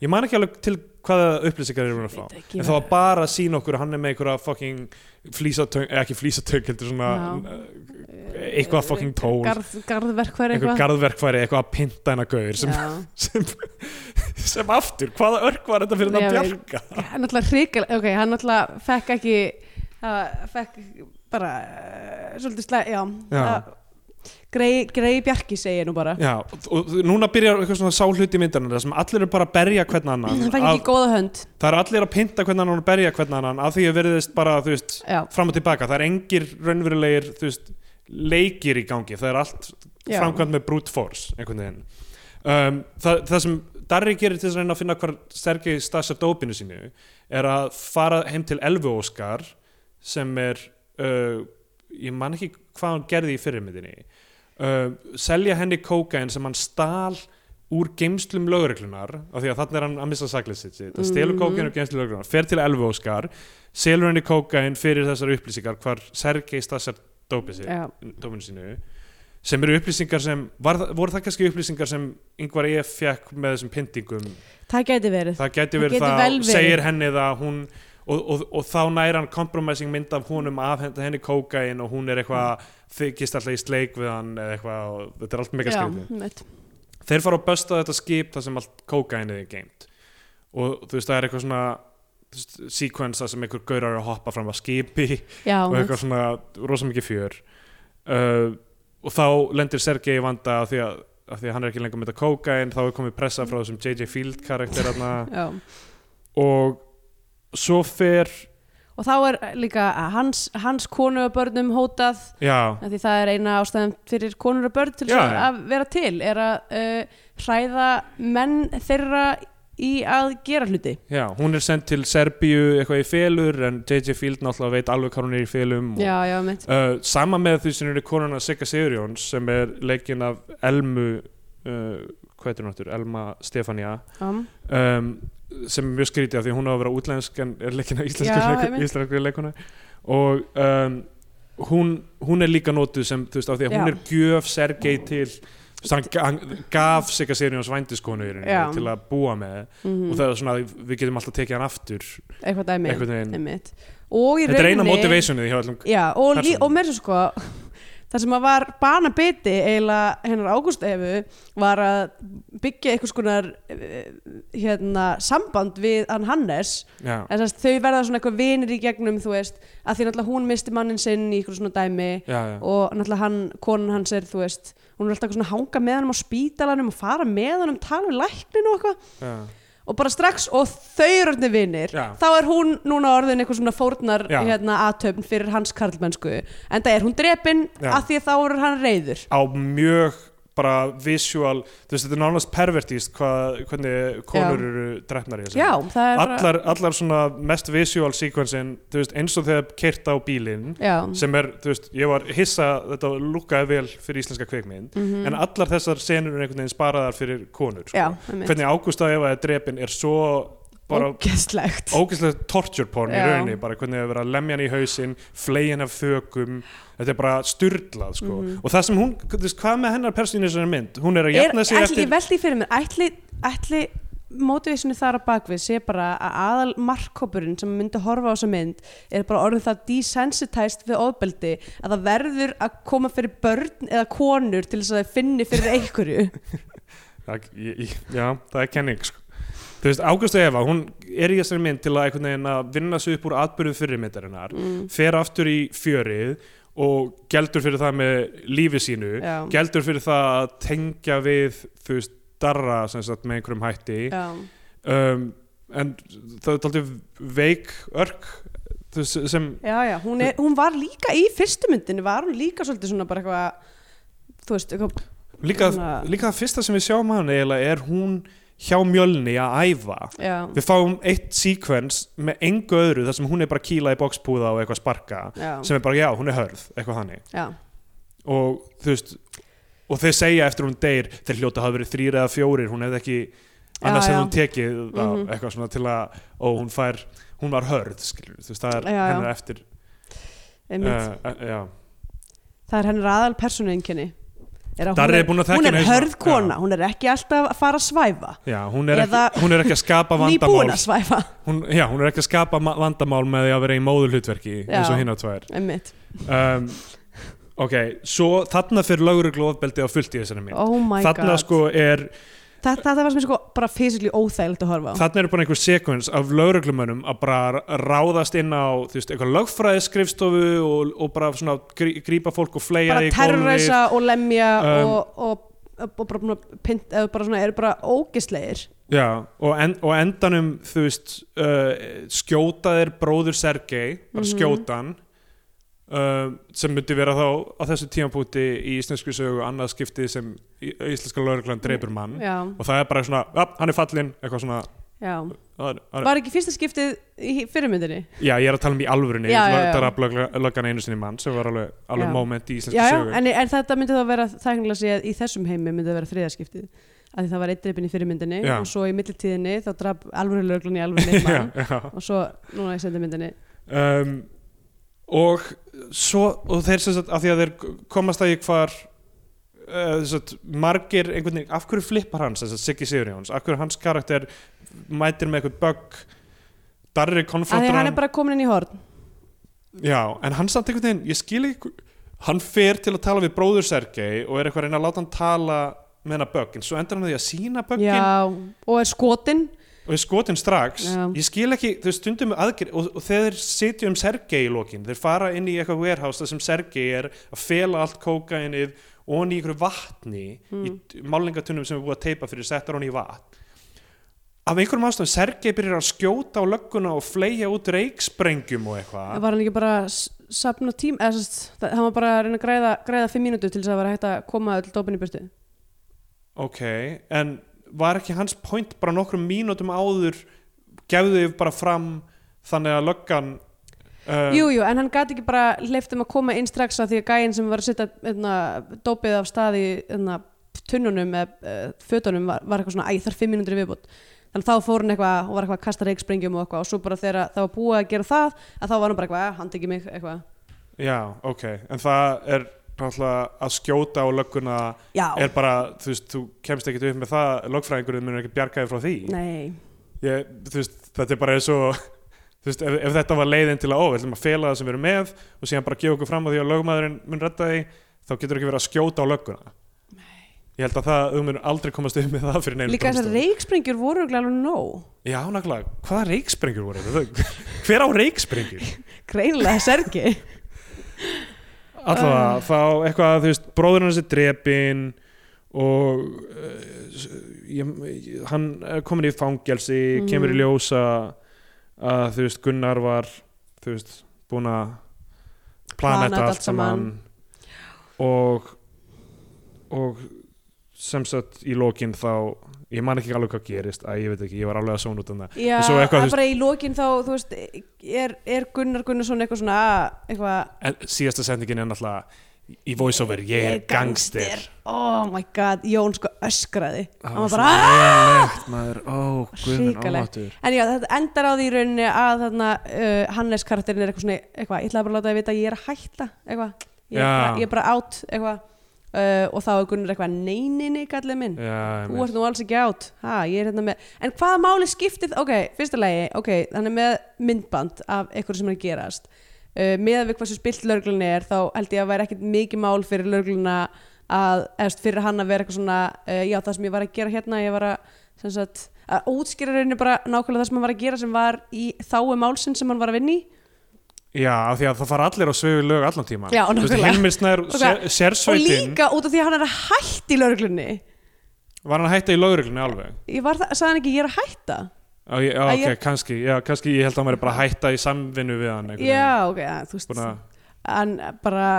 ég man ekki alveg til hvaða upplýsingar erum við að fá
Veit ekki
en það var bara að sína okkur að hann er með einhverja fucking flýsatöng, eh, ekki flýsatöng heldur svona eh, eitthvað fucking tól,
Garð, Garðverkfæri
einhver garðverkfæri eitthvað að pynta hennar gaur sem
Já.
sem, sem aftur, hvaða örk var þetta fyrir hann
Ég
að
veit.
bjarga?
hann náttúrulega hrikal ok, hann náttúrulega fekk ekki það fekk bara uh, svolítið slæg, já,
Já.
já. grei bjarki segi ég nú bara
Já, og, og núna byrjar eitthvað svona sáhlut í myndinu þar sem allir eru bara að berja hvern annan
hann fekk ekki góða hönd
það er allir að pynta hvern annan og berja hvern annan af því að verðist bara, þú veist,
já,
fram og tilbaka það er engir raunverulegir, þú veist leikir í gangi, það er allt
já.
framkvæmt með brute force, einhvern veginn um, það, það sem Darri gerir til þess að reyna að finna hvar Sergei stasar dópinu sínu er að fara heim til Elfu Óskar sem er uh, ég man ekki hvað hann gerði í fyrirmyndinni uh, selja henni kókain sem hann stal úr geimslum lögreglunar af því að þannig er hann að missa saklið sitt sitt hann stelur
Mhm.
kókain úr geimslum lögreglunar, fer til Elfu Óskar selur henni kókain fyrir þessar upplýsingar hvar Sergei stasar dópinu sitt
já,
dóminu sínu sem eru upplýsingar sem, var, það- voru það kannski upplýsingar sem yngvar EF fekk með þessum pyntingum,
það gæti verið
það gæti
Það
verið
getur
það,
vel verið.
segir henni það hún, og, og, og þá nær hann compromising mynd af húnum af hend- henni kókain og hún er
Mm.
eitthvað, þykist alltaf í sleik við hann eða eitthvað og þetta er allt mega
já,
skrítið.
mitt.
Þeir fara að bösta þetta skip þar sem allt kókainið er geimt og þú veist það er eitthvað svona þú veist, sequence þar sem einhver gaurar eru að hoppa fram að skipi
já,
og
mitt.
eitthvað svona rosa mikið fjör uh, og þá lendir Sergei í vanda af því að, af því að hann er ekki lengur með þetta kóka en þá er komið pressa frá þessum J.J. Field karakter þarna
já.
og svo fer
og þá er líka að hans, hans konu og börnum hótað
já,
af því það er eina ástæðum fyrir konur og börn til þess
Já,
að
já.
að vera til er að uh, hræða menn þeirra í að gera hluti
já, hún er sendt til Serbíu eitthvað í félur en J.J. Field náttúrulega veit alveg hvað hún er í félum og,
já, já, mitt
uh, sama með því sem er konuna Sigga Sigurjóns sem er leikinn af Elmu uh, hvað heitir hún áttur, Elma Stefania
um.
um, sem er mjög skrítið af því að hún á að vera útlensk en er leikina íslensku,
Já,
leikur,
einmitt.
íslensku leikuna og um, hún, hún er líka notuð sem þú veist af því að
Já.
hún er gjöf Sergei til þú veist, hann, hann gaf sig að Sirjóns vændiskonu í
Já.
rauninni til að búa með og það er svona að við getum alltaf tekið hann aftur
Mhm. eitthvað dæmi
einhvern veginn
einmitt. og í
þetta er eina
rauninni-
motivationið hjá allum
já, og, lí,
persónum.
og mér svo sko það sem að var banabiti eiginlega hennar Ágúst Efu var að byggja einhvers konar eh, hérna, samband við hann Hannes
já,
en þess, þau verða svona eitthvað vinir í gegnum þú veist, að því náttúrulega hún misti mannin sinn í einhverjum svona dæmi
já, já.
og náttúrulega hann, konan hans er þú veist hún er alltaf eitthvað svona að hanga með hann á spítalanum og fara með hann um tala við læknin og eitthvað
já.
og bara strax og þau eru orðinni vinir
Já.
þá er hún núna orðin eitthvað svona fórnar
Já.
hérna, aðtöfn fyrir hans karlmennsku en það er hún drepin
Já.
að því að þá er hann reyður
á mjög bara visual, þú veist, þetta er nánast pervertíst hvað, hvernig konur
Já.
eru drefnar í þessu
já, það er bara
allar, allar svona mest visual sequencein, þú veist, eins og þegar kert á bílinn
já,
sem er, þú veist, ég var hissa þetta lúkaði vel fyrir íslenska kveikmynd en allar þessar senur eru einhvern veginn sparaðar fyrir konur sko.
Mhm. já, einmitt.
hvernig Ágústa Eva er drepin er svo bara
ógeðslegt
ógeðslega torture porn í
Já.
rauninni bara hvernig hefur verið að lemja hann í hausinn flegin af þökum, þetta er bara styrlað sko, og það sem hún þú veist, hvað með hennar persónu í þessari mynd, hún er
Mhm.
að
er,
jafna sig
ætli,
eftir
ég veldi fyrir mér ætli, ætli motivationu þar að bakvið sé bara að aðal markkópurinn sem myndi horfa á þessa mynd er bara orðin það desensitized við ofbeldi að það verður að koma fyrir börn eða konur til þess að það finni fyrir einhverju
það, ég, ég, já, það er kenning sko. þú veist, Ágústa Eva, hún er í þessari mynd til að einhvern veginn að vinna sig upp úr atbyrðum fyrirmyndarinnar,
Mm.
fer aftur í fjörið og gældur fyrir það með lífi sínu
Já.
gældur fyrir það að tengja við þú veist, darra sem sagt með einhverjum hætti
já,
um, en það er taldið veik örk þú veist, sem
já, já. Hún, er, hún var líka í fyrstu myndinni var hún líka svolítið svona bara eitthvað þú veist, eitthvað
líka,
Svona-
líka það fyrsta sem við sjáum hann eiginlega er hún hjá mjölni að æfa
já,
við fáum eitt sequence með engu öðru þar sem hún er bara að kýla í bókspúða og eitthvað sparka
já,
sem er bara já, hún er hörð, eitthvað hannig
já,
og þú veist og þeir segja eftir hún deyr, þeir hljóta hafa verið þrýr eða fjórir, hún hefði ekki annars
Já,
hefði
já.
hún tekið á,
Mhm.
eitthvað svona til að, og hún fær hún var hörð, skilur, þú veist, það er
Já, já.
hennar eftir
einmitt
uh, uh, já,
Það er hennar aðal persónuinkenni er að hún
Darri er búin að þekkja
hún er
hana í svona-
hörð kona,
Já.
hún er ekki alltaf að fara að svæfa
Já, hún er,
Eða-
ekki, hún er ekki að skapa
nýbúin
vandamál
að svæfa
hún, Já, hún er ekki að skapa ma- vandamál með því að vera í móðulhutverki eins og
Já.
hinn á tvær
Einmitt.
um, Ok, svo þarna fyrir lögreglu ofbeldi á fullt í þessari mín
oh my
Þarna
god
sko er,
þetta, þetta var sem er sko bara fysiskli óþægilegt að horfa á
þarna eru bara einhver sekvens af lögreglumönnum að bara ráðast inn á, þú veist, eitthvað lögfræði skrifstofu og, og bara svona grí- grípa fólk og fleja
bara
því í gólfið
terrorisa og lemja
Um,
og, og, og bara, bara, pynt, eða bara svona, eru bara ógisleir
Já, og, en, og endanum þú veist, uh, skjóta þér bróður Sergei, bara
Mhm.
skjótan uh, sem myndi vera þá á þessu tímapunkti í íslensku sögu annað skiptið sem í- íslenska lauruglan dreipur mann
já,
og það er bara svona, ja, hann er fallinn eitthvað svona,
já.
það er, það er,
var ekki fyrsta skiptið í fyrirmyndinni
já ég er að tala um í alvörunni
Já, já, já.
það er að löggan einu sinni mann sem var alveg, alveg
Já.
moment í íslensku
já, já,
sögu
en, en þetta myndi þá vera þægnilega séð í þessum heimi myndi það vera þriðaskiptið að því það var eitt dreipin í fyrirmyndinni
Já.
og svo í millitíðinni þá draf alvöru löglan í alvöru
já,
mann
já.
og svo núna í sendamyndinni
um, og svo og þeir sem sagt, af því að þeir komast að ég hvar uh, sem sagt, margir einhvern veginn, af hverju flippar hann sem sagt, Siggi Sigurjóns, af hverju hans karakter mætir með eitthvað bögg Darri
að því
konfrontur
hann er bara komin inn í horn
já, en hann samt einhvern veginn, ég skil ekki hann fer til að tala við bróður Sergei og er eitthvað að reyna að láta hann tala með hennar böggin, svo endar hann með því að sína böggin
já, og er skotin
og er skotin strax
Já.
ég skil ekki, þau stundum aðgerð og, og þegar þeir sitja um Sergei í lokin þeir fara inn í eitthvað warehouse þar sem Sergei er að fela allt kókainið og hann í einhverju vatni
Hmm.
í málingatunum sem er búið að teipa fyrir settar hann í vatn af einhverjum ástæðum Sergei byrjar að skjóta á lögguna og fleja út reiksprengjum og eitthvað
var hann ekki bara að s- safna tím eða sérst, hann var bara að reyna að græða, græða fimm mínútur til þess að vera hægt að koma öll dópin í burtu
ok, en var ekki hans point bara nokkrum mínútum áður gefðu þau bara fram þannig að löggan uh,
Jú, jú, en hann gati ekki bara leift um að koma inn strax að því að gæinn sem var að setja einna, dópið af staði einna, tunnunum eða uh, fötunum var, var eitthvað svona, æ, þar fimm mínútur í viðbútt þannig að þá fór hann eitthvað og var eitthvað að kasta reiksprengjum og eitthvað og svo bara þegar það var búið að gera það að þá var hann bara eitthvað, "Ah, hann tekið mig eitthvað
Já, ok, en það er náttúrulega að skjóta á lögguna
Já,
er bara, þú veist, þú kemst ekkert upp með það, lögfræðingurinn munur ekki bjarga þér frá því
nei,
ég, þú veist, þetta er bara eins og þú veist, ef, ef þetta var leiðin til að ó, við ætlum að fela það sem við erum með og síðan bara gefa okkur fram á því að lögmaðurinn mun redda því þá getur ekki verið að skjóta á lögguna Nei. ég held að það, þú munur aldrei komast upp með það fyrir neinum
líka þessar
dómstól.
reiksprengjur voru örugglega alveg nóg
Já, nákvæmlega, hvaða reiksprengjur voru þetta? Hver á reiksprengjur?
Greinlega sergi
Um. Alltaf þá eitthvað, þú veist, bróðurinn hans er drepinn og uh, ég, ég- hann er komin í fangelsi
Mhm.
kemur í ljósa að þú veist Gunnar var þú veist búin að plana
Plana
þetta
þetta
allt
allt
saman og og sem sagt í lokin þá ég man ekki alveg hvað gerist að ég veit ekki, ég var alveg að svona út um það
Já,
En svo eitthvað, þú
að
veist-
bara í lokin þá, þú veist, er, er Gunnar Gunnarsson eitthvað svona, eitthvað
en síðasta sendingin er náttúrulega í voiceover, ég er gangster
Oh my god, Jón sko öskraði Hann var
svo
bara "Ah!"
lélegt, maður, ó, guðminn
Hrikalegt.
ámatur
En já, þetta endar á því í rauninni að þarna uh, Hannes karakterin er eitthvað svona eitthvað, ég ætlaði bara að láta það vita að ég er að hætta eitthvað, ég, er
Já.
bara- ég er bara átt eitthvað uh, og þá er Gunnar eitthvað neyninni kallið minn, þú ert nú alls ekki átt ha, ég er hérna með, en hvaða máli skiptið ok, fyrsta lagi, ok, hann er með myndband af eitthvað sem er að gerast uh, með við hversu spilt lörglunni er þá held ég að væri ekkit mikið mál fyrir lörgluna að, eðst, fyrir hann að vera eitthvað svona, uh, já það sem ég var að gera hérna ég var að, sem sagt að útskýra rauninni bara nákvæmlega það sem hann var að gera sem var í þáu málsinn sem hann var að vinna í
Já, af því að það fara allir á svegu lög allan tíma
Já, nákvæmlega.
Heimilsnær,
Og hvað-
sér,
og
sérsveitin
líka út af því að hann er að hætta í lörglunni
Var hann að hætta í lögreglunni alveg?
ég var það, sagði hann ekki ég er að hætta
Á, ég, á,
Æ,
ok,
ég-
kannski, já, kannski ég held að hann væri bara að hætta í samvinnu við hann einhvern veginn.
já, ok, ja, þú veist
Búin að,
en bara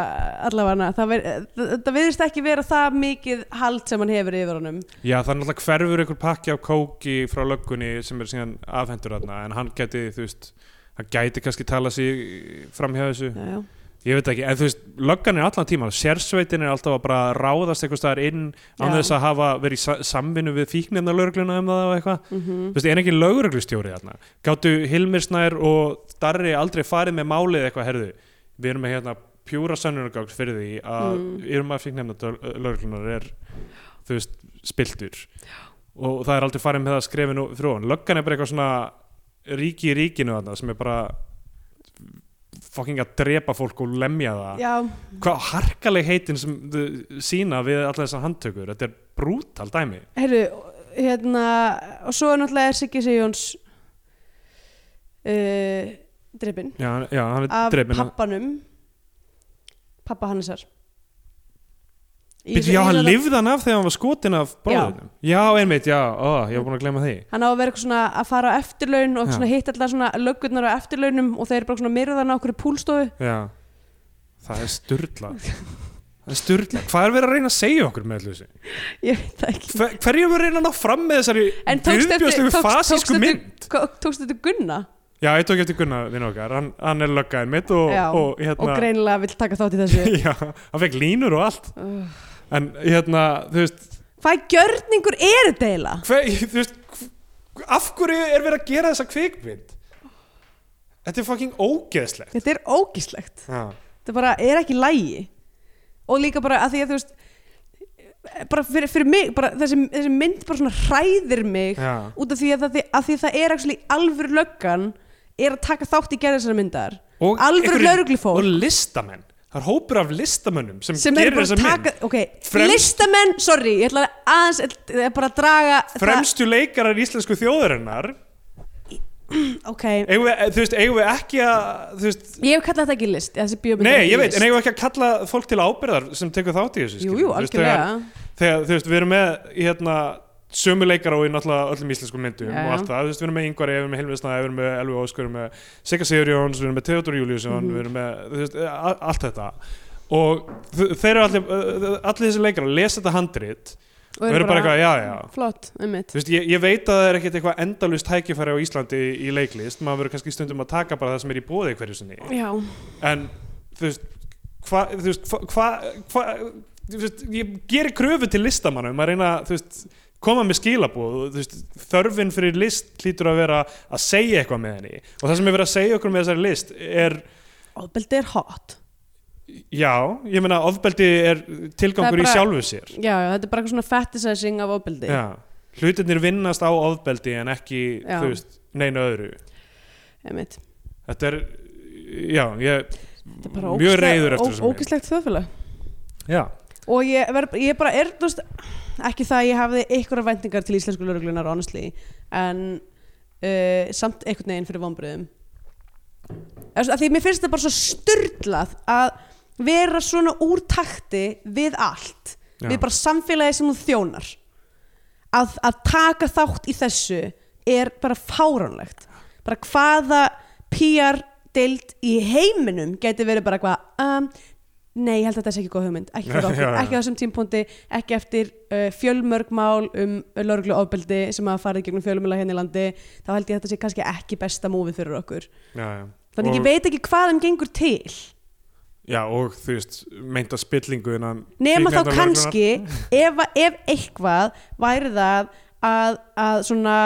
allavega það, ver, það, það viðist ekki vera það mikið hald sem hann hefur yfir honum
Já, það er náttúrulega hverfur einhver pakki af kóki frá löggunni sem er síðan afhendur þarna en hann gæti, þú veist, hann gæti kannski tala sig framhjá þessu
já, já.
Ég veit ekki, en þú veist, löggan er allan tíma sérsveitin er alltaf að bara ráðast einhver staðar inn án
Já.
þess að hafa verið í sa- samvinnu við fíknirna lögregluna um það og eitthvað
Mhm.
Þú veist, er ekki lögreglustjóri þarna Gáttu Hilmir Snær og Darri aldrei farið með málið eitthvað, herðu Við erum með hérna pjúra sannunargáks fyrir því að
Mm.
erum að fíknirna lögreglunar er, þú veist, spiltur og það er aldrei farið með það skrefin og þróun löggan er bara eitthvað svona ríki í ríkinu þarna sem er bara fucking að drepa fólk og lemja það
já,
hvað harkaleg heitin sem þau sína við allar þessar handtökur þetta er brútal dæmi
heyrðu hérna, og svo er náttúrulega er Siggi Sigjóns uh, drefin
já, hann- já hann er
af
drefin
pappanum pappa Hannesar Í þessu- í
Býtu, já,
hérna-
hann
þessu-
lifði hann af þegar hann var skotin af bróðunum já, einmitt, já, ó, ég var búin að glemma því
hann á að vera eitthvað svona að fara á eftirlaun og
Já.
svona hitt allar svona löggurnar á eftirlaunum og þeir eru bara svona myrðan á okkur púlstofu
já, það er sturla það er sturla, hvað er verið að reyna að segja okkur með allir þessu
ég veit það ekki
Hver- hverju var reyna að ná fram með þessari
En tókst eftir-
viðbjóðslegu
tókst- tókst
fasísku
eftir-
mynd
Ko- tókst þetta Gunna
já, ég tók eftir Gunnar vinn okkar, hann, hann er löggaðin mitt og,
Já, og
og hérna
greinilega vill taka þátt í þessu
já, hann fekk línur og allt
Ugh.
en hérna, þú veist,
hvað gjörningur er þetta eiginlega?
hver, þú veist hv- af hverju er verið að gera þessa kvikmynd þetta er fucking ógeðslegt
þetta er ógíslegt
já,
þetta bara er ekki lægi og líka bara að því að þú veist bara fyrir, fyrir mig, bara þessi, þessi mynd bara svona hræðir mig
já,
út af því að, að, að því að það er actually alvöru löggan er að taka þátt í gerð þessari myndar
og
alvöru
einhverjir-
lögreglufólk
og listamenn, það er hópur af listamönnum sem,
sem er
gerir
bara
þessa
að taka
mynd
ok,
Fremst-
listamenn, sorry ég ætla aðeins ég ætla bara að draga það-
fremstu leikarar íslensku þjóðurinnar
ok,
eigum við, þú veist, eigum við ekki að þú veist,
ég hef kallað þetta ekki list þessi bíómynd er
Nei,
ekki
ég veit,
list.
en eigum við ekki að kalla fólk til ábyrðar sem tekur þátt í þessu
Jú,
skilur
jú,
við? Þú veist,
algjörlega
Þegar, þegar, þú veist, við erum með hérna, sömu leikar á í náttúrulega öllum íslenskum myndum
Já, já.
og allt það, þú veist, við erum með Ingvar Ef, við erum með Hilmi Snæði, við erum með Elvi Ósk, við erum með Sigga Sigurjóns, við erum með Theodor Júliusson,
Mhm.
við erum með, þú veist, a- allt þetta og þ- þeir eru allir, ö, allir þessi leikar að lesa þetta handrit
Og
og
eru
eru bara eitthvað, já, já,
flott, einmitt
Þú veist, ég, ég veit að það er ekkert eitthvað endalust tækifæri á Íslandi í, í leiklist, maður verður kannski stundum að taka bara það sem er í bóði hverju sinni
já,
en þú veist hvað þú veist hvað hva, hva, þú veist, ég gerir kröfu til listamannum að reyna þú veist koma með skilabóð og þú veist, þörfin fyrir list hlýtur að vera að segja eitthvað með henni og það sem er verið að segja okkur með þessari list er,
ofbeldi er hot
já, ég meina ofbeldi er tilgangur
Það er bara-
í sjálfu sér
já, já, þetta er bara eitthvað svona fetishizing af ofbeldi
já, hlutirnir vinnast á ofbeldi en ekki,
Já.
þú veist, neina öðru
einmitt
þetta er, já, ég
Þetta er bara
mjög
ógeðslega-
reyður
ó-
eftir þessum mynd.
ógeðslegt þjóðfélag
já,
og ég, ver, ég bara er þú veist, ekki það að ég hafði einhverja væntingar til íslensku lörglunar honestly en uh, samt einhvern veginn fyrir vonbröðum að því mér finnst þetta bara svo styrlað að vera svona úr takti við allt
Já.
við bara samfélagi sem hún þjónar að, að taka þátt í þessu er bara fáránlegt bara hvaða PR deild í heiminum geti verið bara hvað um, nei, ég held að þetta sé ekki góð hugmynd ekki, fyrir
Já,
okkur,
já.
ekki á þessum tímpúndi, ekki eftir uh, fjölmörg mál um lörglu ofbeldi sem hafa farið gegnum fjölmörla hérna í landi þá held ég að þetta sé kannski ekki besta mófið fyrir okkur
já, já.
þannig
Og-
ég veit ekki hvað hann gengur til
Já, og þú veist, meinta spillingu innan
nema þá
fíkniefnalögreglunnar.
kannski ef, ef eitthvað væri það að, að svona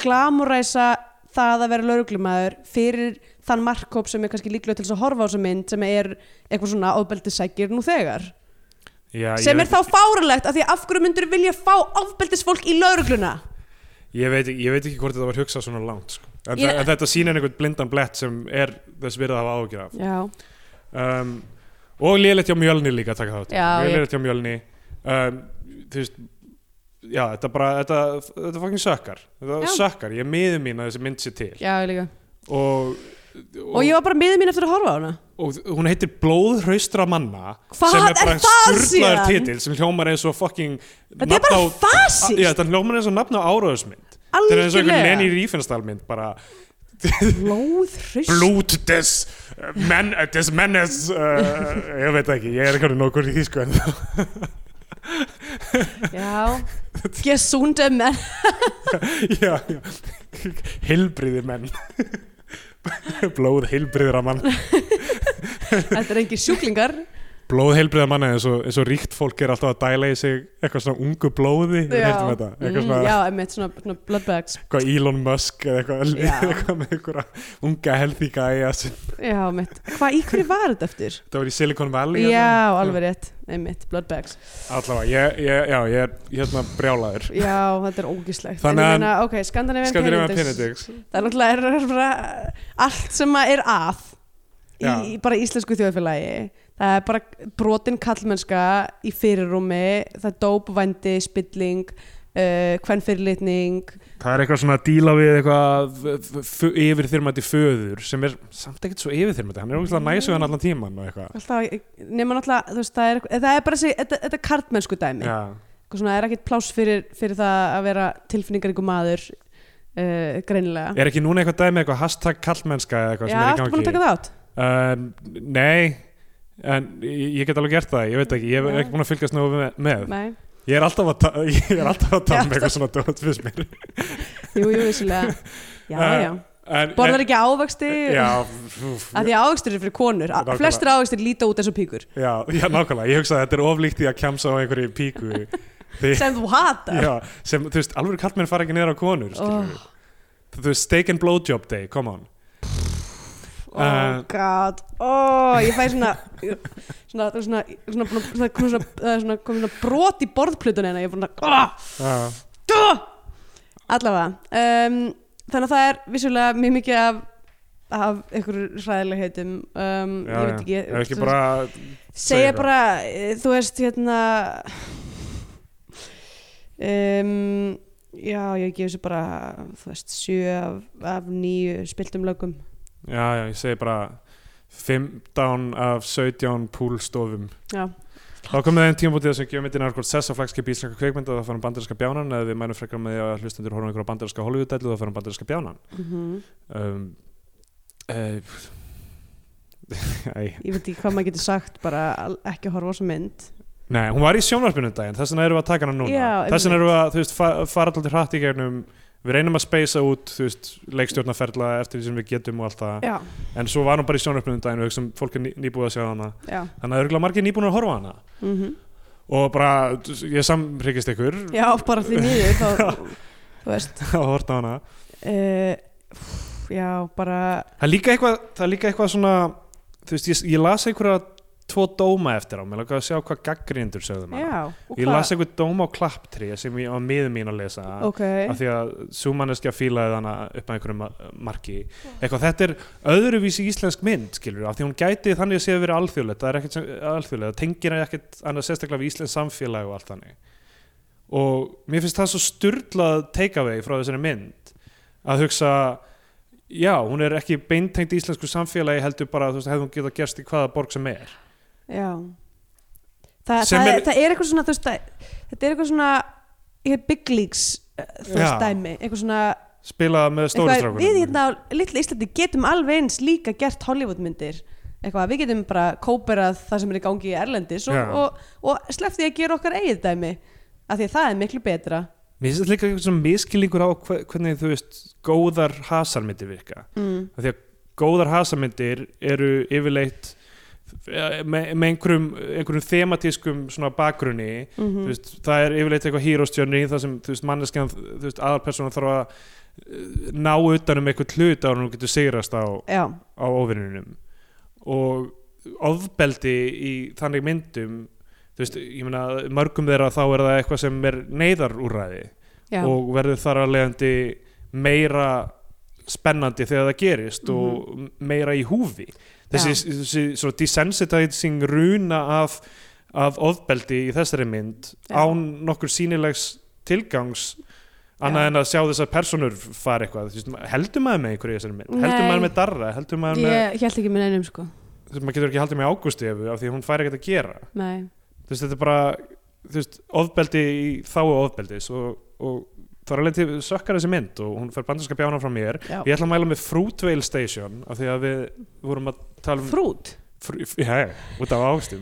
glamuræsa það að vera lauruglumæður fyrir þann markkóp sem er kannski líklega til þess að horfa á þessa mynd sem er eitthvað svona ofbeldissækir nú þegar
já, ég
sem er
veit-
þá fáralegt af því að af hverju myndur vilja fá ofbeldisfólk í laurugluna
ég veit, ég veit ekki hvort þetta var hugsað svona langt sko. en,
Ég-
ég... en þetta sýnir einhvern blindan blett sem er þess verið að hafa ágjur af
já,
um, og lélegt hjá mjölni líka að taka þátt
Já, ég-
lélegt hjá mjölni um, þú veist já, þetta bara, þetta, þetta fucking sökkar
Já.
þetta sökkar, ég miður mín að þessi mynd sér til
já líka
og,
og ég var bara miður mín eftir að horfa á hana
og hún heitir Blóðhraustra manna
Hvað
sem er bara
er það
sturlaður
síðan?
titill sem hljómar eins og fucking
þetta er bara fasist
Ah, Já, þetta hljómar eins og nafn á áraðusmynd Þetta er eins og einhver Lenny Riefenstahlmynd bara
blóðhrist
Blút des uh, men, uh, des mennes uh, ég veit ekki, ég er eitthvað nokkur í því sko en
já, gesunde menn
já, já hilbriði menn blóð hilbriðra mann
Þetta er engin sjúklingar
blóð hilbriðra mann eins og, eins og ríkt fólk er alltaf að dæla í sig eitthvað svona ungu blóði við heyrðum þetta, eitthvað
mm,
svona
já einmitt svona, svona bloodbags
eitthvað Elon Musk eða eitthvað,
Já.
eitthvað með einhverja unga healthy gæja sem,
Já, einmitt Hvað, í hverju var þetta eftir?
það var í Silicon Valley
Já, alveg rétt Einmitt, bloodbags
allavega, ég, ég, já, ég er hérna brjálaður
Já, þetta er ógislegt
Þannig
En ég
að-
meina, Ok, Skandinavian
Skandinavian
Penitence
Penedix
Það er náttúrulega er, bara allt sem að er að í,
Já.
í bara íslensku þjóðfélagi Það er bara brotin kallmennska í fyrirrúmi Það er dópvændi, spilling uh, Kvenfyrirlitning
Það er eitthvað svona að díla við eitthvað f- f- yfirþyrmandi föður sem er samt ekkert svo yfirþyrmandi, hann er ógæslega næs við hann allan tíman og eitthvað.
Alltaf, nema náttúrulega, þú veist, það er, það er bara þessi, þetta, þetta er kartmennsku dæmi
Já,
eitthvað svona, er ekkert pláss fyrir, fyrir það að vera tilfinningaríku maður uh, greinilega
er ekki núna eitthvað dæmi eitthvað hashtag kallmennska eða eitthvað
Já,
sem er í
ertu
gangi?
búin að taka þátt?
Um, nei, en ég ég get alveg gert það, ég veit ekki, ég
Já.
er ekki búin að fylgjast nú með.
Nei,
Ég er alltaf að, ta ég er alltaf að tala
Já,
með eitthvað svona dótt fyrst mér.
jú, jú, vissulega Já,
Eh,
já,
En,
borðar ekki ávexti
Eh, Já,
að því að ávextir eru fyrir konur A-
Nákvæmlega.
flestir ávextir líta út eins og píkur
já, já, nákvæmlega, ég hugsa að þetta er oflíkt í að kjamsa á einhverju píku Þi-
sem þú hatar
já, sem, þú veist, alveg kallmenn fara ekki neður á konur
Oh.
oh. þú veist, steak and blowjob day, come on
Oh
Eh.
god, oh, ég fæ svona svona, það er svona, svona, svona, svona, kom svona, það er svona, kom svona brot í borðplutunina, ég er búin að oh,
já,
Allavega um, Þannig að það er vissulega mjög mikið af af einhverju hræðileg heitum um,
já,
ég veit ekki,
já. ekki bara
segja
segja það.
bara, eh, þú veist hérna um, já, ég gefi þessu bara þú veist, sjö af, af nýju spiltum lögum
já, já, ég segi bara 15 af 17 púlstofum
já,
þá komið það einn tímabútið sem gefur myndin einhvern sess á flagskipi íslenska kveikmynda þá fannum bandarinska bjánan eða við mænum frekar með því að hlustendur horfum á einhverja bandarinska Hollywood-dælu þá fannum bandarinska bjánan
mm
um, uh, eh, Æ,
ég veit ekki hvað maður getur sagt bara al- ekki horfa á þessu mynd
Nei, hún var í sjónvarpinu um daginn, þess vegna erum við að taka hana núna
Já,
Þess
einmitt.
vegna erum við að, þú veist, fa fara alltaf hratt í gegnum Við reynum að speysa út, þú veist, leikstjórnaferla eftir því sem við getum og allt það
já,
En svo var hún bara í sjónvarpinu um daginn og hugsaum fólk er ný, nýbúið að sjá hana
já,
Þannig að örgulega margir nýbúin að horfa á hana
mm
Og bara, þú- ég samryggist ykkur
já bara því nýju þá, þú veist
að horfa á hana
uh, já, bara
Það er líka eitthvað, það er líka eitthvað svona, þú veist, ég, ég las einhverja tvo dóma eftir á Mér langaði að sjá hvað gaggrindur sögðum hana
Já, og
Ég las einhver dóma á klapptri sem ég á miðum mín að lesa
Ok,
af því að súmanneskja fílaði hana upp að einhverjum ma- marki eitthvað, þetta er öðruvísi íslensk mynd skilur, af því hún gæti þannig að séu verið alþjóðlegt það er ekkert sem, alþjóðlegt, það tengir ekkert annað sérstaklega við íslensk samfélag og allt þannig og mér finnst það svo styrlað takeaway frá þessari mynd að hugsa já, hún er ekki beintengt íslensku samfélagi heldur bara, þú veist, hefði hún getað gerst í hvaða borg sem er
já Þa,
Sem
það, er,
er-
það er eitthvað svona þú veist, það, þetta er eitthvað svona ég er big leagues eh, þú veist
Já.
dæmi eitthvað svona
spila með
eitthvað,
stóri
við
strákunum
hérna á litla Íslandi getum alveg eins líka gert Hollywoodmyndir eitthvað við getum bara kóperað það sem er í gangi í Erlendis og,
Já.
og, og sleppt því að gera okkar eigið dæmi af því að það er miklu betra
Mér finnst þetta líka eitthvað svona miskilingur á hve- hvernig þú veist góðar hasarmyndir virka
mm.
af því að góðar hasarmyndir eru yfirleitt eh, með, með einhverjum, einhverjum thematískum svona bakgrunni
Mm
þú veist, það er yfirleitt eitthvað hýróstjörni þar sem þú veist, manneskjan, þú veist, aðalpersónan þarf að eh, ná utan um eitthvað hlut ára hún getur sigrast á,
já,
á ofinninum og ofbeldi í þannig myndum þú veist, ég meina, mörgum þeirra þá er það eitthvað sem er neyðarúræði
já,
og verður þar að leiðandi meira spennandi þegar það gerist
Mhm.
og meira í húfi þessi, þessi svo desensitizing runa af, af ofbeldi í þessari mynd
Já.
án nokkur sínilegs tilgangs annað
Já.
en að sjá þessar personur fara eitthvað, Þú veist, heldur maður með einhverju í þessari mynd, heldur
Nei.
maður með darra heldur maður með,
ég held ekki minn einum sko
þú veist, maður getur ekki haldið með ágústi af því að hún fær ekkert að gera
nei,
þú veist, þetta er bara þú veist, ofbeldi í þáu ofbeldis og, og það er alveg til sökkar þessi mynd og hún fer bandarska bjána frá mér
já,
ég ætla að mæla með Fruitvale Station af því að við vorum að tala um
frút
fr já, út af ástum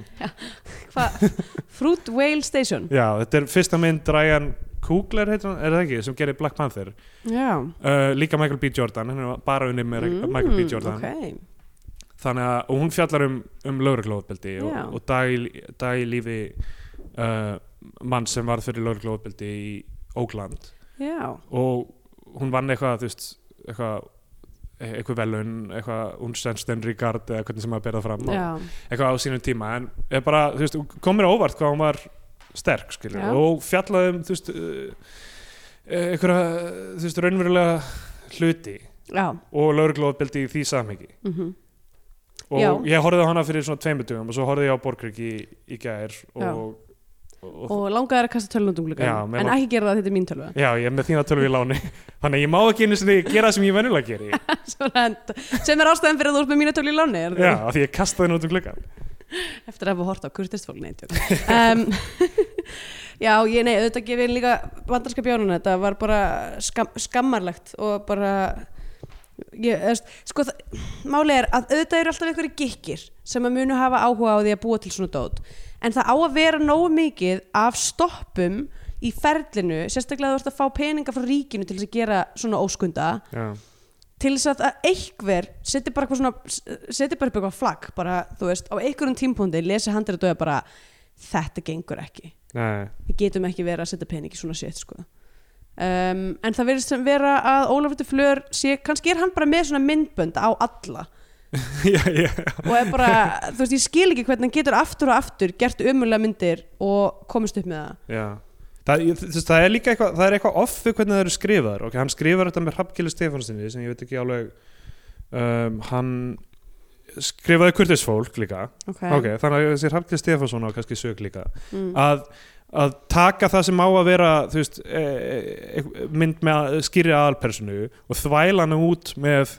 Hva? Fruit Whale Station
já, þetta er fyrsta mynd Ryan Coogler heitir hann, er það ekki, sem gerir Black Panther
já,
uh, líka Michael B. Jordan, hann er bara unni með
Mm,
Michael B. Jordan
okay.
þannig að, og hún fjallar um, um lögreglóðbeldi og,
Já.
og dag, í- dag í lífi uh, mann sem varð fyrir lögreglóðbeldi í Ógland
já,
og hún vann eitthvað þú veist, eitthvað eitthvað velun, eitthvað unnstensten Rigard eða hvernig sem maður berða fram á-
já.
eitthvað á sínum tíma en er bara, þú veist, komur óvart hvað hún var sterk, skilur,
Já.
og fjallaði um þú veist, uh, einhverja þú veist, raunverulega hluti
já.
og lauruglóðbeldi í því samhengi
Mm
og
Já.
ég horfði á hana fyrir svona tveimur tveimutugum og svo horfði ég á Borgrygg í, í gær og,
Já.
og, og,
og langaði að kasta tölvundum glugga
Já, mér
en
lang-
ekki gera það, þetta er mín tölva
já, ég er með þína tölvi í láni þannig að ég má ekki einu sinni gera það sem ég venjulega geri
Svona, sem er ástæðan fyrir að þú ert með mína tölvu í láni er það
Já, af því ég kastaði henni út um gluggan
ekki? eftir að hafa hort á kurtistvól um, já, ég nei, auðvitað gefið líka vandarska bjónuna, þetta var bara skam, skammarlegt og bara ég, eðst, sko, það- málið er að auðvitað eru alltaf einhverjir gikkir sem að munu hafa áhuga á því að búa til svona dót en það á að vera nógu mikið af stoppum í ferlinu sérstaklega að þú ert að fá peninga frá ríkinu til þess að gera svona óskunda
Já,
til þess að, að einhver seti bara, eitthvað svona, seti bara upp eitthvað flagg bara, þú veist, á einhverjum tímpúndi lesi handir að döða bara þetta gengur ekki,
nei,
við getum ekki verið að setja pening í svona shit sko. um, en það verðist sem vera að Ólafur til Flör sé, kannski er hann bara með svona myndbönd á alla
já, já,
og er bara, þú veist, ég skil ekki hvernig hann getur aftur og aftur gert umulega myndir og komist upp með það
já. Það, ég- þú veist, það er líka eitthvað, það er eitthvað off við hvernig það eru skrifaðar, ok, hann skrifar þetta með Hrafnkeli Stefánsinni sem ég veit ekki alveg um, hann skrifaði kurtisfólk líka
okay.
ok, Uh, þannig að þessi Hrafnkeli Stefánsson á kannski sög líka,
Mm.
að að taka það sem á að vera þú veist, e, e, e- mynd með skýri aðalpersonu og þvæla hana út með,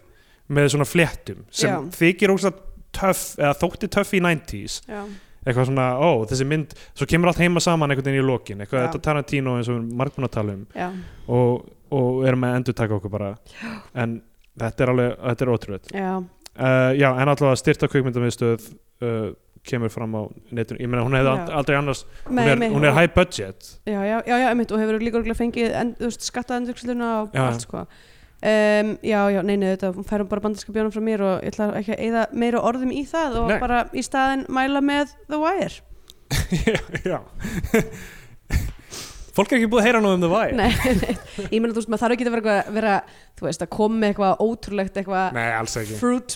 með svona fléttum sem
Já.
þykir ósað töff, eða þótti töff í 90s
Já.
eitthvað svona, ó, þessi mynd svo kemur allt heima saman einhvern veginn í lokin eitthvað
Já.
þetta Tarantino eins og við margbúin að tala um
Já.
og, og erum að endur taka okkur bara en þetta er alveg, þetta er ótrúlega
Já.
uh, já, en allavega styrta kvikmyndamiðstöð uh, kemur fram á netinu ég meina, hún hefði
Já.
já. aldrei annars hún
Nei,
er,
nei,
hún er high budget
já, já, já, já, einmitt og hefur líka örugglega fengið en, þú veist, skattaendurksluna og
Já.
allt sko um, já, já, nei, nei, þetta færum bara bandarska bjónum frá mér og ég ætla ekki að eyða meira orðum í það og
Nei.
bara í staðin mæla með The Wire
já, já. fólk er ekki búið að heyra nú um The Wire
nei, nei, ég meina, þú veist, maður þarf ekki að vera, eitthvað- vera þú veist, að koma með eitthvað ótrúlegt eitthvað
Nei, alls ekki
fruit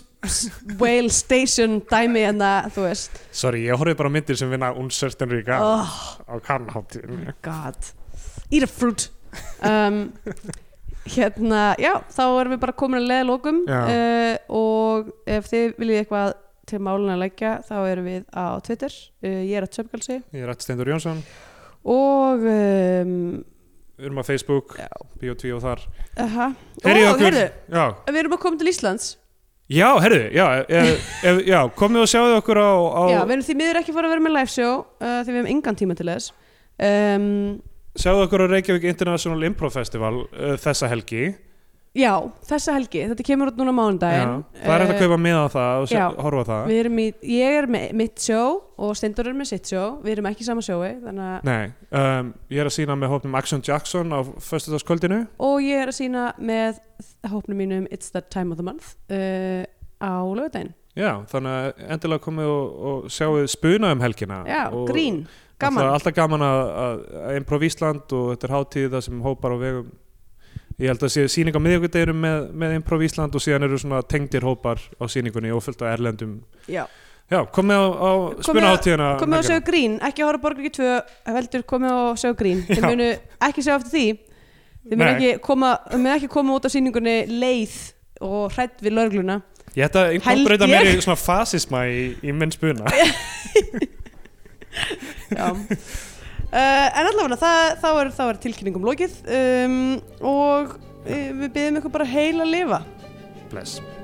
whale station dæmi en það, þú veist
sorry, ég horfði bara á myndir sem vinna Uncertain Ríka
oh
á kannháttin
god, eat a fruit um, hérna, já, þá erum við bara komin að leiða lókum
Já.
uh, og ef þið viljið eitthvað til málun að leggja, þá erum við á Twitter, uh, ég er að tjöfgalsi
ég er Rætt Steindur Jónsson
og um,
við erum á Facebook,
Já.
Bíotví og þar
aha,
Heyrið
og
okkur.
heyrðu,
Já,
við erum að koma til Íslands
Já, herðu, já, ef, ef, já komið og sjáðu okkur á, á
Já, við erum því miður ekki fór að vera með live show uh, því við hefum engan tíma til þess um,
sjáðu okkur á Reykjavík International Improv Festival uh, þessa helgi
Já, þessa helgi, þetta kemur út núna mánudaginn Uh,
Já, það er hægt að kaupa miða á það og sjá,
eh, já.
horfa á það
Við erum í, ég er með mitt sjó og Steindor er með sitt sjó, við erum ekki í sama sjói þannig að,
Nei, um, ég er að sína með hópnum Action Jackson á föstudagskvöldinu
og ég er að sína með hópnum mínum It's That Time of the Month uh, á lögudaginn,
Já, þannig að endilega komið og, og sjáu spuna um helgina
já,
og,
grín
Það
gaman,
er alltaf gaman að, að, að Improv Ísland og þetta er hátíð það sem hópar á vegum Ég held að sé síning á miðvíkudeginum með, með Improv Ísland og síðan eru svona tengdir hópar á síningunni og fullt á erlendum
já
Já, komið á, á
Komið
spuna
að-
hátíðina
komið og sjá grín, ekki horfa á borgarki 2 heldur komið og sjá grín þið
Já.
munu ekki sjá eftir því þið munu
Nei.
ekki, koma, þið munu ekki koma út á síningunni leið og hrætt við lörgluna
Ég ætta að inkorporata
Held ég.
mér í svona fasisma í, í minn spuna
Já. Uh, en allavega það, þá, er, þá er tilkynningum eh, lokið um, og uh, við byggjum ykkur bara heil að lifa
Bless